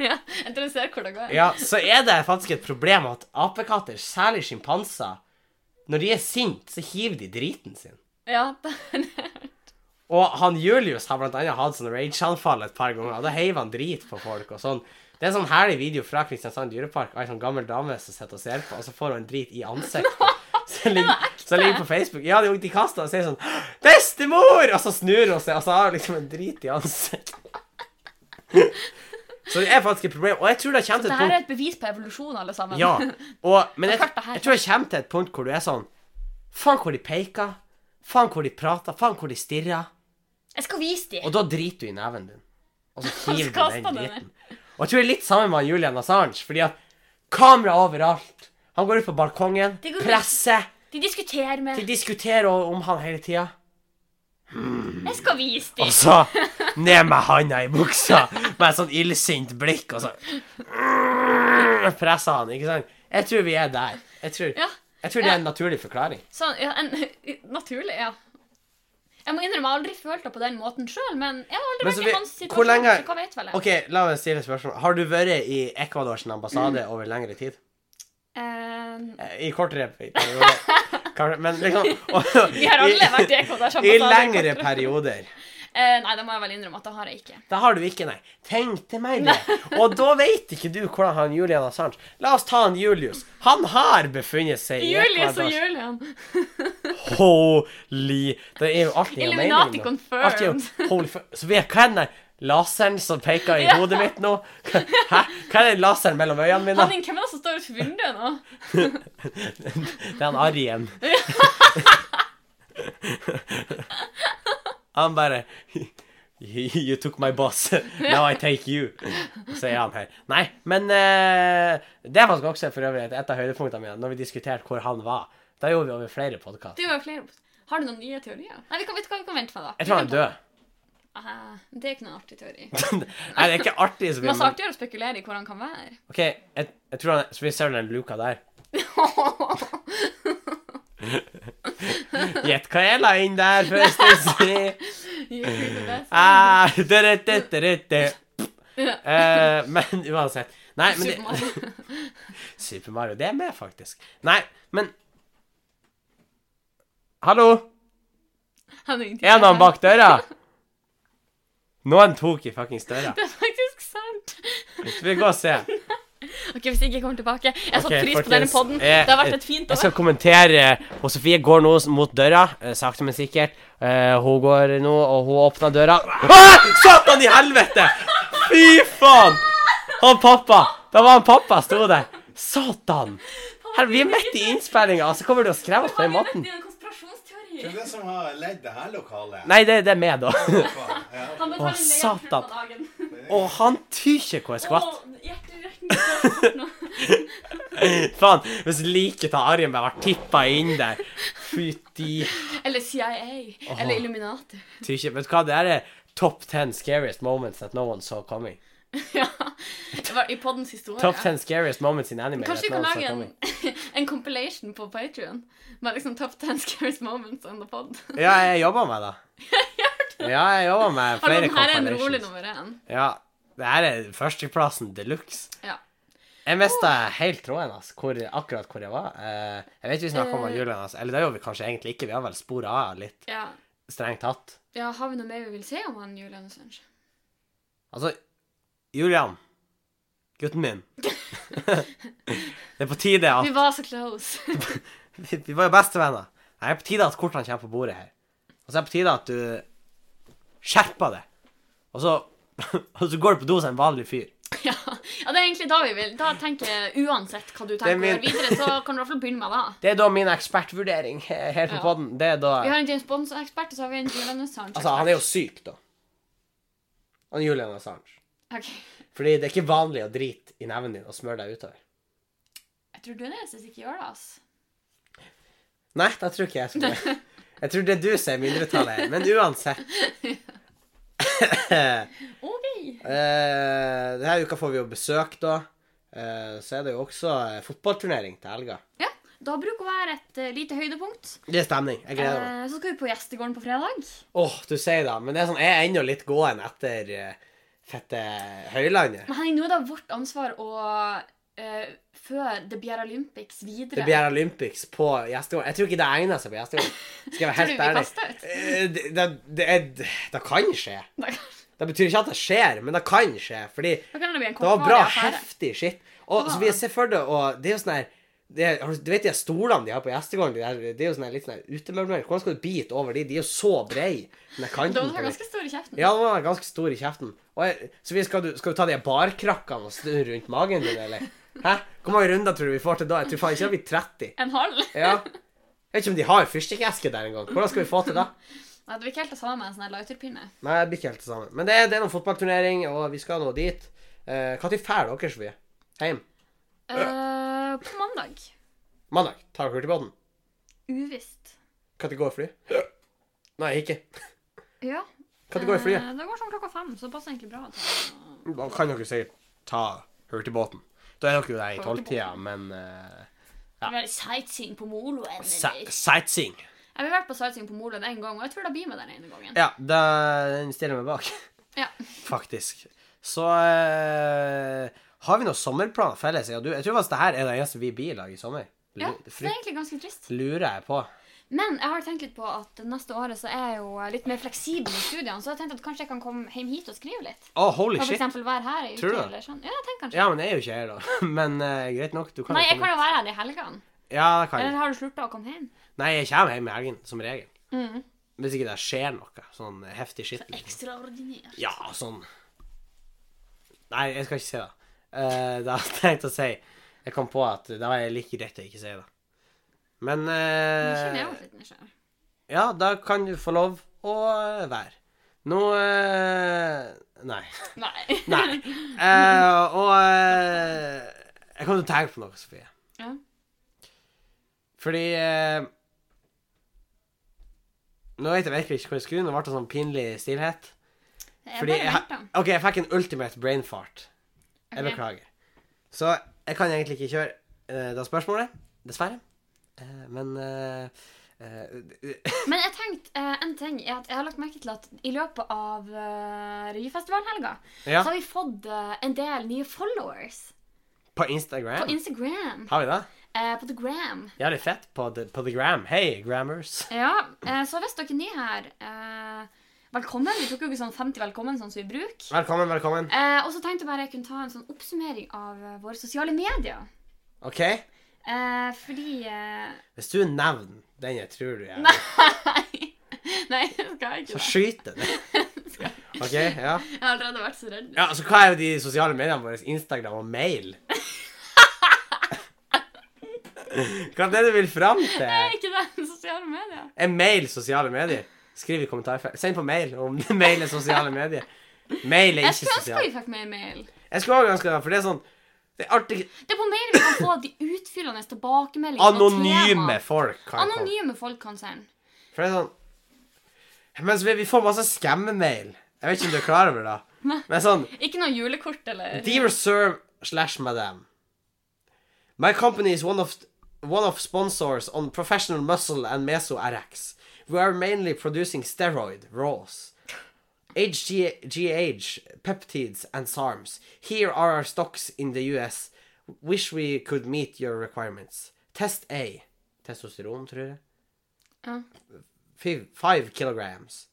[SPEAKER 2] Ja, jeg tror jeg ser hvor det går.
[SPEAKER 1] ja, så er det faktisk et problem at apekatter, særlig sjimpanser, når de er sinte, så hiver de driten sin.
[SPEAKER 2] Ja, det-
[SPEAKER 1] Og han Julius har blant annet hatt sånn rage-anfall et par ganger, og da heiver han drit på folk og sånn. Det er en sånn herlig video fra Kristiansand dyrepark av ei sånn gammel dame som sitter og ser på, og så får hun en drit i ansiktet. Så ligger, så ligger på Facebook Ja, de, de kaster og sier sånn 'Bestemor!' Og så snur hun seg, og så har hun liksom en drit i ansiktet. Så det er faktisk et problem. Og jeg tror det kommer til
[SPEAKER 2] det
[SPEAKER 1] et
[SPEAKER 2] her
[SPEAKER 1] punkt
[SPEAKER 2] er et bevis på evolusjon, alle sammen.
[SPEAKER 1] ja. Og, men jeg,
[SPEAKER 2] Og kartet her.
[SPEAKER 1] jeg tror jeg kommer til et punkt hvor du er sånn Faen hvor de peker. Faen hvor de prater. Faen hvor de stirrer.
[SPEAKER 2] Jeg skal vise dem.
[SPEAKER 1] Og da driter du i neven din. Og så hiver
[SPEAKER 2] kaster
[SPEAKER 1] du den
[SPEAKER 2] han den
[SPEAKER 1] driten. Og jeg tror det er litt sammen med han Julian Assange, fordi at kamera overalt. Han går ut på balkongen,
[SPEAKER 2] Det går ut.
[SPEAKER 1] presser.
[SPEAKER 2] De diskuterer
[SPEAKER 1] De
[SPEAKER 2] med
[SPEAKER 1] diskuterer o- om han hele tida.
[SPEAKER 2] Jeg skal vise dem.
[SPEAKER 1] Og så ned med handa i buksa med et sånn illsint blikk, og så presser han, ikke sant? Jeg tror vi er der. Jeg tror,
[SPEAKER 2] Ja.
[SPEAKER 1] jeg tror det er en naturlig forklaring.
[SPEAKER 2] Sånn, ja, en, naturlig, ja. Jeg må innrømme, jeg har aldri følt det på den måten sjøl, men jeg har aldri
[SPEAKER 1] Men så
[SPEAKER 2] vært
[SPEAKER 1] vi-
[SPEAKER 2] i hans
[SPEAKER 1] hvor
[SPEAKER 2] situasjon,
[SPEAKER 1] lenge-
[SPEAKER 2] så hva vet vel jeg?
[SPEAKER 1] OK, la meg stille et spørsmål. Har du vært i Ecuadors ambassade over lengre tid?
[SPEAKER 2] Eh,
[SPEAKER 1] Eh, I kortere perioder. Kanskje, men liksom og-
[SPEAKER 2] vi har alle
[SPEAKER 1] i-
[SPEAKER 2] vært i Ecuador sammen.
[SPEAKER 1] I lengre perioder.
[SPEAKER 2] Eh, nei, det må jeg vel innrømme at det har jeg ikke.
[SPEAKER 1] Det har du ikke, nei. Tenkte meg det. Og da vet ikke du hvordan han Julian Assange La oss ta han Julius. Han har befunnet seg i
[SPEAKER 2] Julius og
[SPEAKER 1] Ecuador.
[SPEAKER 2] Julian.
[SPEAKER 1] Holy Det er jo alltid en mening
[SPEAKER 2] Illuminati
[SPEAKER 1] nå.
[SPEAKER 2] confirmed.
[SPEAKER 1] Alt er jo- holy fu- Så vi er, hva er den der laseren som peker i
[SPEAKER 2] Ja.
[SPEAKER 1] hodet mitt nå? Hæ? Hva er den laseren mellom øynene mine?
[SPEAKER 2] Han, hvem er det som står utenfor vinduet nå?
[SPEAKER 1] Det er han Arjen. han bare You took my boss. Now I take you. Sier han her. Nei, men eh, det var faktisk også for øvrig et et av høydepunktene mine når vi diskuterte hvor han var. Da gjorde vi over flere podkaster.
[SPEAKER 2] Det var jo flere. Har du noen nye teorier? Nei, vi kan, vet du hva vi kan vente med, da.
[SPEAKER 1] Jeg tror han er død.
[SPEAKER 2] Eh, det er ikke noen artig teori.
[SPEAKER 1] Nei, det er ikke artig. Så vi,
[SPEAKER 2] Masse
[SPEAKER 1] men,
[SPEAKER 2] artigere å spekulere i hvor han kan være.
[SPEAKER 1] ok, jeg, jeg tror han, så vi ser den luka der. Gjett hva jeg la inn der, forresten.
[SPEAKER 2] You feel the best.
[SPEAKER 1] Ah, dødødødødø. Eh, men uansett Nei, men
[SPEAKER 2] Super
[SPEAKER 1] det,
[SPEAKER 2] Mario.
[SPEAKER 1] Super Mario. Det er med, faktisk. Nei, men Hallo?
[SPEAKER 2] Han er ingenting.
[SPEAKER 1] Er noen bak døra? Noen tok i fuckings døra.
[SPEAKER 2] Det er faktisk sant.
[SPEAKER 1] Skal vi gå og se?
[SPEAKER 2] Ok, Hvis jeg ikke kommer tilbake Jeg satte
[SPEAKER 1] Ok,
[SPEAKER 2] pris på
[SPEAKER 1] folkens,
[SPEAKER 2] denne podden.
[SPEAKER 1] eh,
[SPEAKER 2] Det har vært et fint
[SPEAKER 1] Jeg skal
[SPEAKER 2] år.
[SPEAKER 1] kommentere. Og Sofie går nå mot døra, eh, sakte, men sikkert. Eh, hun går nå, og hun åpner døra. Ah! Satan i helvete! Fy faen! Han pappa. Da var han pappa, sto der. Satan! Her, vi er midt i innspillinga, og så kommer du og skrever oss på den måten.
[SPEAKER 2] i en konspirasjonsteori.
[SPEAKER 3] Det er det som har ledd det her lokalet.
[SPEAKER 1] Nei, det, det er meg, da.
[SPEAKER 3] Faen, ja.
[SPEAKER 2] Han
[SPEAKER 1] Å,
[SPEAKER 2] betaler leie på slutten av
[SPEAKER 1] satan.
[SPEAKER 2] dagen.
[SPEAKER 1] Og han tyr ikke hvor jeg skvatt.
[SPEAKER 2] Å, hjerterekken går fort nå.
[SPEAKER 1] Faen, hvis liket til Arjen bare var tippa inn der. Fytti
[SPEAKER 2] Eller CIA. Eller Illuminati.
[SPEAKER 1] tyr ikke. Vet du hva, det her er top ten scariest moments that no one saw coming.
[SPEAKER 2] Ja. Det var i poddens historie.
[SPEAKER 1] Top 10 scariest moments in anime.
[SPEAKER 2] Kanskje vi
[SPEAKER 1] that
[SPEAKER 2] kan
[SPEAKER 1] no one's
[SPEAKER 2] lage en,
[SPEAKER 1] coming.
[SPEAKER 2] en compilation på Patreon med liksom Top 10 Scariest Moments on the pod.
[SPEAKER 1] Ja, jeg jobber med det. Ja, jeg jobber med
[SPEAKER 2] Hallo,
[SPEAKER 1] flere
[SPEAKER 2] den her er en rolig
[SPEAKER 1] compilations.
[SPEAKER 2] nummer én.
[SPEAKER 1] Ja, det her er førsteplassen de luxe.
[SPEAKER 2] Ja.
[SPEAKER 1] Jeg mista helt tråden, altså, hvor, akkurat hvor jeg var. Eh, jeg vet vi snakka om
[SPEAKER 2] Eh.
[SPEAKER 1] Julian, altså. Eller det gjorde vi kanskje egentlig ikke. Vi har vel spora av litt,
[SPEAKER 2] ja.
[SPEAKER 1] strengt tatt.
[SPEAKER 2] Ja, Har vi noe mer vi vil si om han Julian Assange?
[SPEAKER 1] Altså, Julian. Gutten min. det er på tide at
[SPEAKER 2] Vi var så close.
[SPEAKER 1] Vi vi var jo bestevenner. Nei, Det er på tide at kortene kommer på bordet her. Og så er det på tide at du skjerper deg. Og så, og så går du på do som en vanlig fyr.
[SPEAKER 2] Ja. ja, det er egentlig da vi vil. Da tenker jeg uansett hva du
[SPEAKER 1] er
[SPEAKER 2] tenker å
[SPEAKER 1] min-
[SPEAKER 2] gjøre videre, så kan du i hvert fall begynne med det.
[SPEAKER 1] Det er da min ekspertvurdering eh, her på
[SPEAKER 2] Ja.
[SPEAKER 1] podden. Det er da
[SPEAKER 2] Vi har en James Bond-ekspert, og så har vi en Julian Assange.
[SPEAKER 1] Altså, han er jo syk, da. Han Julian Assange.
[SPEAKER 2] Ok.
[SPEAKER 1] Fordi det er ikke vanlig å drite i neven din og smøre deg utover.
[SPEAKER 2] Jeg tror du er den eneste som ikke gjør det, altså.
[SPEAKER 1] Nei, det tror ikke jeg skulle gjøre. Jeg tror det er du som er mindretallet her. Men uansett.
[SPEAKER 2] OK.
[SPEAKER 1] Eh, denne uka får vi jo besøk, da. Eh, så er det jo også eh, fotballturnering til helga.
[SPEAKER 2] Ja, da bruker å være et eh, lite høydepunkt.
[SPEAKER 1] Det er stemning. Jeg gleder meg.
[SPEAKER 2] Eh, så skal vi på gjestegården på fredag.
[SPEAKER 1] Åh, du sier det. Men det er sånn, jeg er ennå litt gåen etter eh, fette Høylandet.
[SPEAKER 2] Men Henning, nå er det vårt ansvar å eh, eh, før The Bjerre Olympics videre.
[SPEAKER 1] Det blir Olympics på gjestegaard. Jeg tror ikke det egner seg på gjestegaard. Skal jeg være
[SPEAKER 2] Tror
[SPEAKER 1] helt
[SPEAKER 2] du vi
[SPEAKER 1] ærlig.
[SPEAKER 2] kaster ut?
[SPEAKER 1] Eh, Det, det, det, er, det kan skje.
[SPEAKER 2] Da
[SPEAKER 1] Det betyr ikke at det skjer, men det kan skje. Fordi
[SPEAKER 2] da kan det bli en
[SPEAKER 1] det var
[SPEAKER 2] kortvarig
[SPEAKER 1] bra,
[SPEAKER 2] affære.
[SPEAKER 1] heftig shit. Og så vi ser for det, og det er jo sånn her det, er- har du- du vet de her stolene de har på gjestegården? De der- det er jo sånn her litt sånn her utemøblering. Hvordan skal du bite over de? De er jo så brede. Den der kanten
[SPEAKER 2] Da var
[SPEAKER 1] på
[SPEAKER 2] du
[SPEAKER 1] de.
[SPEAKER 2] ganske stor i kjeften.
[SPEAKER 1] Ja, den var ganske stor i kjeften. Og jeg, så vi skal, du, skal du ta de her barkrakkene og snurre rundt magen din, eller? Hæ? Hvor mange runder tror du vi får til da? Jeg tror faen ikke det blir 30.
[SPEAKER 2] En halv.
[SPEAKER 1] Ja. Jeg vet ikke om de har fyrstikkeske der engang. Hvordan skal vi få til det?
[SPEAKER 2] Nei, det blir ikke helt det samme med en sånn her lighterpinne.
[SPEAKER 1] Nei, det blir ikke helt det samme. Men det er, det er noen fotballturnering, og vi skal nå dit. Eh, Når drar dere, Sofie? Hjem?
[SPEAKER 2] Eh, på mandag.
[SPEAKER 1] Mandag. Tar dere hurtigbåten?
[SPEAKER 2] Uvisst.
[SPEAKER 1] Når går fly? Nei, ikke.
[SPEAKER 2] Ja.
[SPEAKER 1] Når går flyet?
[SPEAKER 2] Eh, det går sånn klokka fem, så det passer egentlig bra. å ta-
[SPEAKER 1] Da kan dere sikkert ta hurtigbåten. Da er dere jo der i tolvtida, men eh,
[SPEAKER 2] Vi har Sightseeing på Moloen.
[SPEAKER 1] si-
[SPEAKER 2] eller?
[SPEAKER 1] sightseeing.
[SPEAKER 2] Jeg har vært på sightseeing på Moloen en gang, og jeg tror det blir med den ene gangen.
[SPEAKER 1] Ja, da den stiller jeg meg bak,
[SPEAKER 2] Ja.
[SPEAKER 1] faktisk. Så eh, har vi noen sommerplaner felles? Ja, du, jeg tror faktisk det her er det eneste vi blir i lag i sommer. Lu-
[SPEAKER 2] Ja, så
[SPEAKER 1] frykt-
[SPEAKER 2] det er egentlig ganske trist.
[SPEAKER 1] lurer jeg på.
[SPEAKER 2] Men jeg har tenkt litt på at neste året så er jeg jo eh, litt mer fleksibel i studiene, så jeg har tenkt at kanskje jeg kan komme hjem hit og skrive litt.
[SPEAKER 1] Å, holy
[SPEAKER 2] Og for
[SPEAKER 1] shit.
[SPEAKER 2] eksempel være her i uke
[SPEAKER 1] Tror du det?
[SPEAKER 2] eller sånn. Ja, jeg tenker kanskje.
[SPEAKER 1] Ja, men jeg er jo ikke her, da. Men eh, greit nok. Du kan
[SPEAKER 2] Nei,
[SPEAKER 1] jo
[SPEAKER 2] jeg
[SPEAKER 1] komme.
[SPEAKER 2] kan jo være her i helgene.
[SPEAKER 1] Ja, det kan jeg.
[SPEAKER 2] Eller har du slutta å komme hjem?
[SPEAKER 1] Nei, jeg kommer hjem i helgen, som regel.
[SPEAKER 2] Mm.
[SPEAKER 1] Hvis ikke det skjer noe. Sånn heftig shit. Liksom.
[SPEAKER 2] Ekstraordinær.
[SPEAKER 1] Ja, sånn Nei, jeg skal ikke si det. Eh, det hadde jeg tenkt å si. Jeg kom på at det var like greit å ikke si det. Men
[SPEAKER 2] Nå
[SPEAKER 1] eh,
[SPEAKER 2] kjenner jeg meg litt nysgjerrig.
[SPEAKER 1] Ja, da kan du få lov å eh, være. Nå eh, Nei.
[SPEAKER 2] Nei.
[SPEAKER 1] Nei. Eh, og eh, Jeg kom til å tenke på noe, Sofie.
[SPEAKER 2] Ja.
[SPEAKER 1] Fordi eh, Nå vet jeg virkelig ikke hvor jeg skulle. Nå ble det sånn pinlig stillhet.
[SPEAKER 2] Jeg
[SPEAKER 1] Fordi
[SPEAKER 2] bare
[SPEAKER 1] jeg,
[SPEAKER 2] venter.
[SPEAKER 1] OK, jeg fikk en ultimate brain fart. Jeg
[SPEAKER 2] Ok.
[SPEAKER 1] beklager. Så jeg kan egentlig ikke kjøre eh, det spørsmålet, dessverre. Eh, men eh, eh,
[SPEAKER 2] Men jeg tenkte eh, en ting er at jeg har lagt merke til at i løpet av eh, revyfestivalhelga
[SPEAKER 1] Ja,
[SPEAKER 2] så har vi fått eh, en del nye followers
[SPEAKER 1] på
[SPEAKER 2] på
[SPEAKER 1] Instagram.
[SPEAKER 2] Instagram.
[SPEAKER 1] Har vi det?
[SPEAKER 2] eh, på The Gram.
[SPEAKER 1] Jævlig fett på the, på the gram. Hei, grammers.
[SPEAKER 2] Ja, eh, så hvis dere er nye her, eh, velkommen. Vi tok jo ikke sånn 50 velkommen sånn som vi bruker.
[SPEAKER 1] Velkommen, velkommen.
[SPEAKER 2] Eh, og så tenkte jeg bare jeg kunne ta en sånn oppsummering av eh, våre sosiale medier.
[SPEAKER 1] OK?
[SPEAKER 2] Eh, fordi eh,
[SPEAKER 1] Hvis du nevner den jeg tror du er,
[SPEAKER 2] Nei. Nei, jeg skal jeg ikke
[SPEAKER 1] så
[SPEAKER 2] det.
[SPEAKER 1] skyter jeg deg. OK? Ja.
[SPEAKER 2] Jeg har allerede vært så redd.
[SPEAKER 1] ja. Så hva er jo de sosiale mediene våre? Instagram og mail? Hva er det du vil fram
[SPEAKER 2] Er
[SPEAKER 1] til?
[SPEAKER 2] ikke det sosiale medier?
[SPEAKER 1] Er mail sosiale medier? Skriv i kommentarfelt. Send på mail om mail er sosiale medier. Mail er
[SPEAKER 2] Jeg
[SPEAKER 1] ikke
[SPEAKER 2] skulle ønske
[SPEAKER 1] sosial.
[SPEAKER 2] vi fikk mer mail.
[SPEAKER 1] Jeg skulle også ønske det, for det er sånn Det er artig
[SPEAKER 2] Det er på mailen vi kan få de utfyllende tilbakemeldingene. og
[SPEAKER 1] Anonyme
[SPEAKER 2] tema.
[SPEAKER 1] folk. altså. kan jeg komme.
[SPEAKER 2] Anonyme folk kan sende.
[SPEAKER 1] For det er sånn Mens vi, vi får masse skammemail. Jeg vet ikke om du er klar over det. Men sånn
[SPEAKER 2] Ikke noe julekort eller
[SPEAKER 1] Dear sir slash madam. My company is one of one of sponsors on professional muscle and meso RX. We are mainly producing steroid raws. HGH, peptides, and SARMs. Here are our stocks in the US. Wish we could meet your requirements. Test A. Testosteron, tror jeg.
[SPEAKER 2] Ja.
[SPEAKER 1] Fiv- Five kilograms.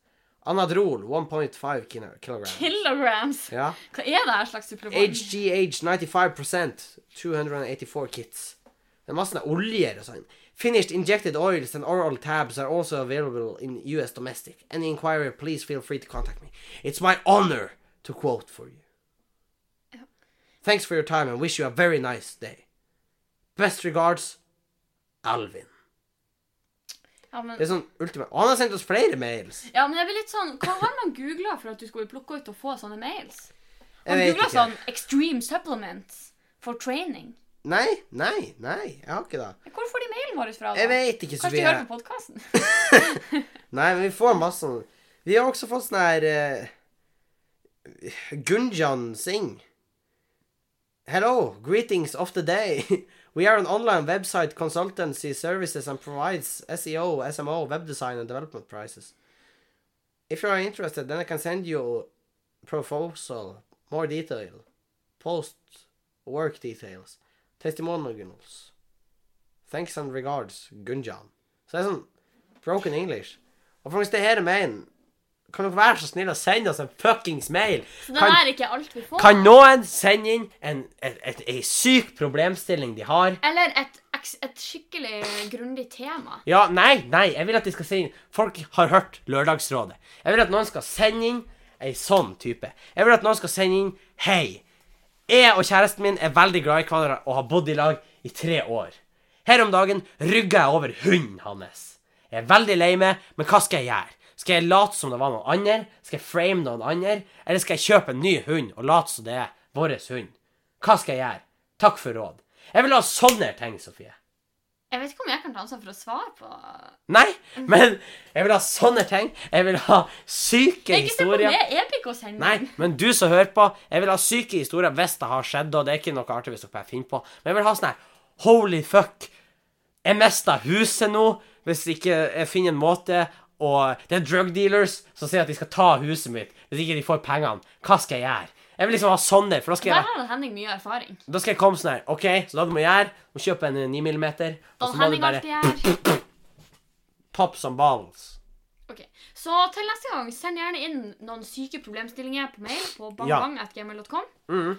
[SPEAKER 1] Anadrol, 1.5 kilo- kilograms.
[SPEAKER 2] Kilograms.
[SPEAKER 1] Ja.
[SPEAKER 2] Hva er det her slags supplement?
[SPEAKER 1] HGH 95%, 284 kits. Det er masse oljer og sånn. Finished injected oils and oral tabs are also available in US domestic. Any inquiry, please feel free to contact me. It's my honor to quote for you. Thanks for your time and wish you a very nice day. Best regards, Alvin.
[SPEAKER 2] Ja men,
[SPEAKER 1] Det er sånn ultima... Og han har sendt oss flere mails.
[SPEAKER 2] ja, men jeg blir litt sånn Hva har man googla for at du skulle plukke ut og få sånne mails? Man
[SPEAKER 1] vet
[SPEAKER 2] googla
[SPEAKER 1] ikke.
[SPEAKER 2] sånn 'Extreme supplements for training'.
[SPEAKER 1] Nei, nei, nei. Jeg har ikke det.
[SPEAKER 2] Hvor får de mailen vår fra? da?
[SPEAKER 1] Jeg vet ikke,
[SPEAKER 2] Kanskje de
[SPEAKER 1] Sofie.
[SPEAKER 2] hører på podkasten?
[SPEAKER 1] Nei, men vi får masse sånn Vi har også fått sånn her uh, Gunjan Singh. Hello, greetings of the day. We are an online website consultancy services and provides E SEO, SMO, web design and development prices. If you are interested, then I can send you proposal, more detail, post work details. Testimonials. Thanks and regards, Gunjan. Så det er sånn broken English. Og folkens, det her er mailen. Kan dere være så snill å sende oss en fuckings mail?
[SPEAKER 2] Så det
[SPEAKER 1] Kan-
[SPEAKER 2] her er ikke alt vi får.
[SPEAKER 1] Kan noen sende inn en, et, et, ei syk problemstilling de har?
[SPEAKER 2] Eller et, eks- et skikkelig grundig tema.
[SPEAKER 1] Ja, nei, nei, jeg vil at de skal sende inn Folk har hørt Lørdagsrådet. Jeg vil at noen skal sende inn ei sånn type. Jeg vil at noen skal sende inn Hei, jeg og kjæresten min er veldig glad i hverandre og har bodd i lag i tre år. Her om dagen rygga jeg over hunden hans. Jeg er veldig lei meg, men hva skal jeg gjøre? Skal jeg late som det var noen andre? Skal jeg frame noen andre? Eller skal jeg kjøpe en ny hund og late som det er vår hund? Hva skal jeg gjøre? Takk for råd. Jeg vil ha sånne ting, Sofie.
[SPEAKER 2] Jeg vet ikke om jeg kan ta ansvar for å svare på
[SPEAKER 1] Nei, men jeg vil ha sånne ting. Jeg vil ha syke
[SPEAKER 2] Jeg ikke se på
[SPEAKER 1] historier.
[SPEAKER 2] det epicosending.
[SPEAKER 1] Nei, men du som hører på, jeg vil ha syke historier hvis det har skjedd, og det er ikke noe artig hvis dere bare finner på. Men jeg vil ha sånn her Holy fuck! Jeg mista huset nå, hvis ikke jeg finner en måte Og det er drug dealers som sier at de skal ta huset mitt hvis ikke de får pengene. Hva skal jeg gjøre? Jeg vil liksom ha sånne, for da skal
[SPEAKER 2] Der
[SPEAKER 1] jeg,
[SPEAKER 2] har Henning mye erfaring.
[SPEAKER 1] da skal jeg komme sånn her. OK, så da du må gjøre, må kjøpe en eh, 9 mm, og
[SPEAKER 2] Da
[SPEAKER 1] så må du
[SPEAKER 2] Henning
[SPEAKER 1] bare
[SPEAKER 2] alltid gjør.
[SPEAKER 1] pop som balls.
[SPEAKER 2] Ok, Så til neste gang, send gjerne inn noen syke problemstillinger på mail på
[SPEAKER 1] Ja.
[SPEAKER 2] bangbang.gmail.com.
[SPEAKER 1] Mhm.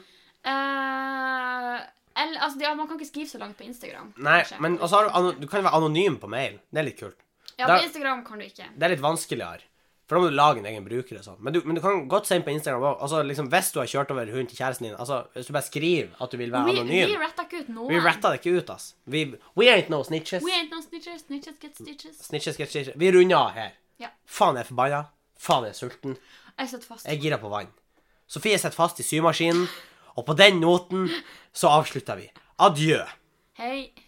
[SPEAKER 2] Eh, eller, altså, ja, man kan ikke skrive så langt på Instagram.
[SPEAKER 1] Nei,
[SPEAKER 2] kanskje.
[SPEAKER 1] men også har du, ano- du kan jo være anonym på mail. Det er litt kult.
[SPEAKER 2] Ja,
[SPEAKER 1] da-
[SPEAKER 2] på Instagram kan du ikke.
[SPEAKER 1] Det er litt vanskeligere. For da må du lage en egen bruker og sånn. Men, du- men du kan godt sende på Instagram også. Altså, liksom, hvis du har kjørt over hunden til kjæresten din, altså, hvis du bare skriver at du vil være
[SPEAKER 2] Vi, vi
[SPEAKER 1] anonym
[SPEAKER 2] retta ikke ut noen.
[SPEAKER 1] Vi retta det ikke ut, ass. Vi, we ain't no snitches.
[SPEAKER 2] We ain't no snitches, snitches get stitches.
[SPEAKER 1] Snitches get stitches. Vi runder av her.
[SPEAKER 2] Ja.
[SPEAKER 1] Faen, jeg er forbanna. Faen, jeg er sulten.
[SPEAKER 2] Jeg sitter fast.
[SPEAKER 1] Jeg er gira på vann. Sofie sitter fast i symaskinen, og på den noten så avslutter vi. Adjø.
[SPEAKER 2] Hei.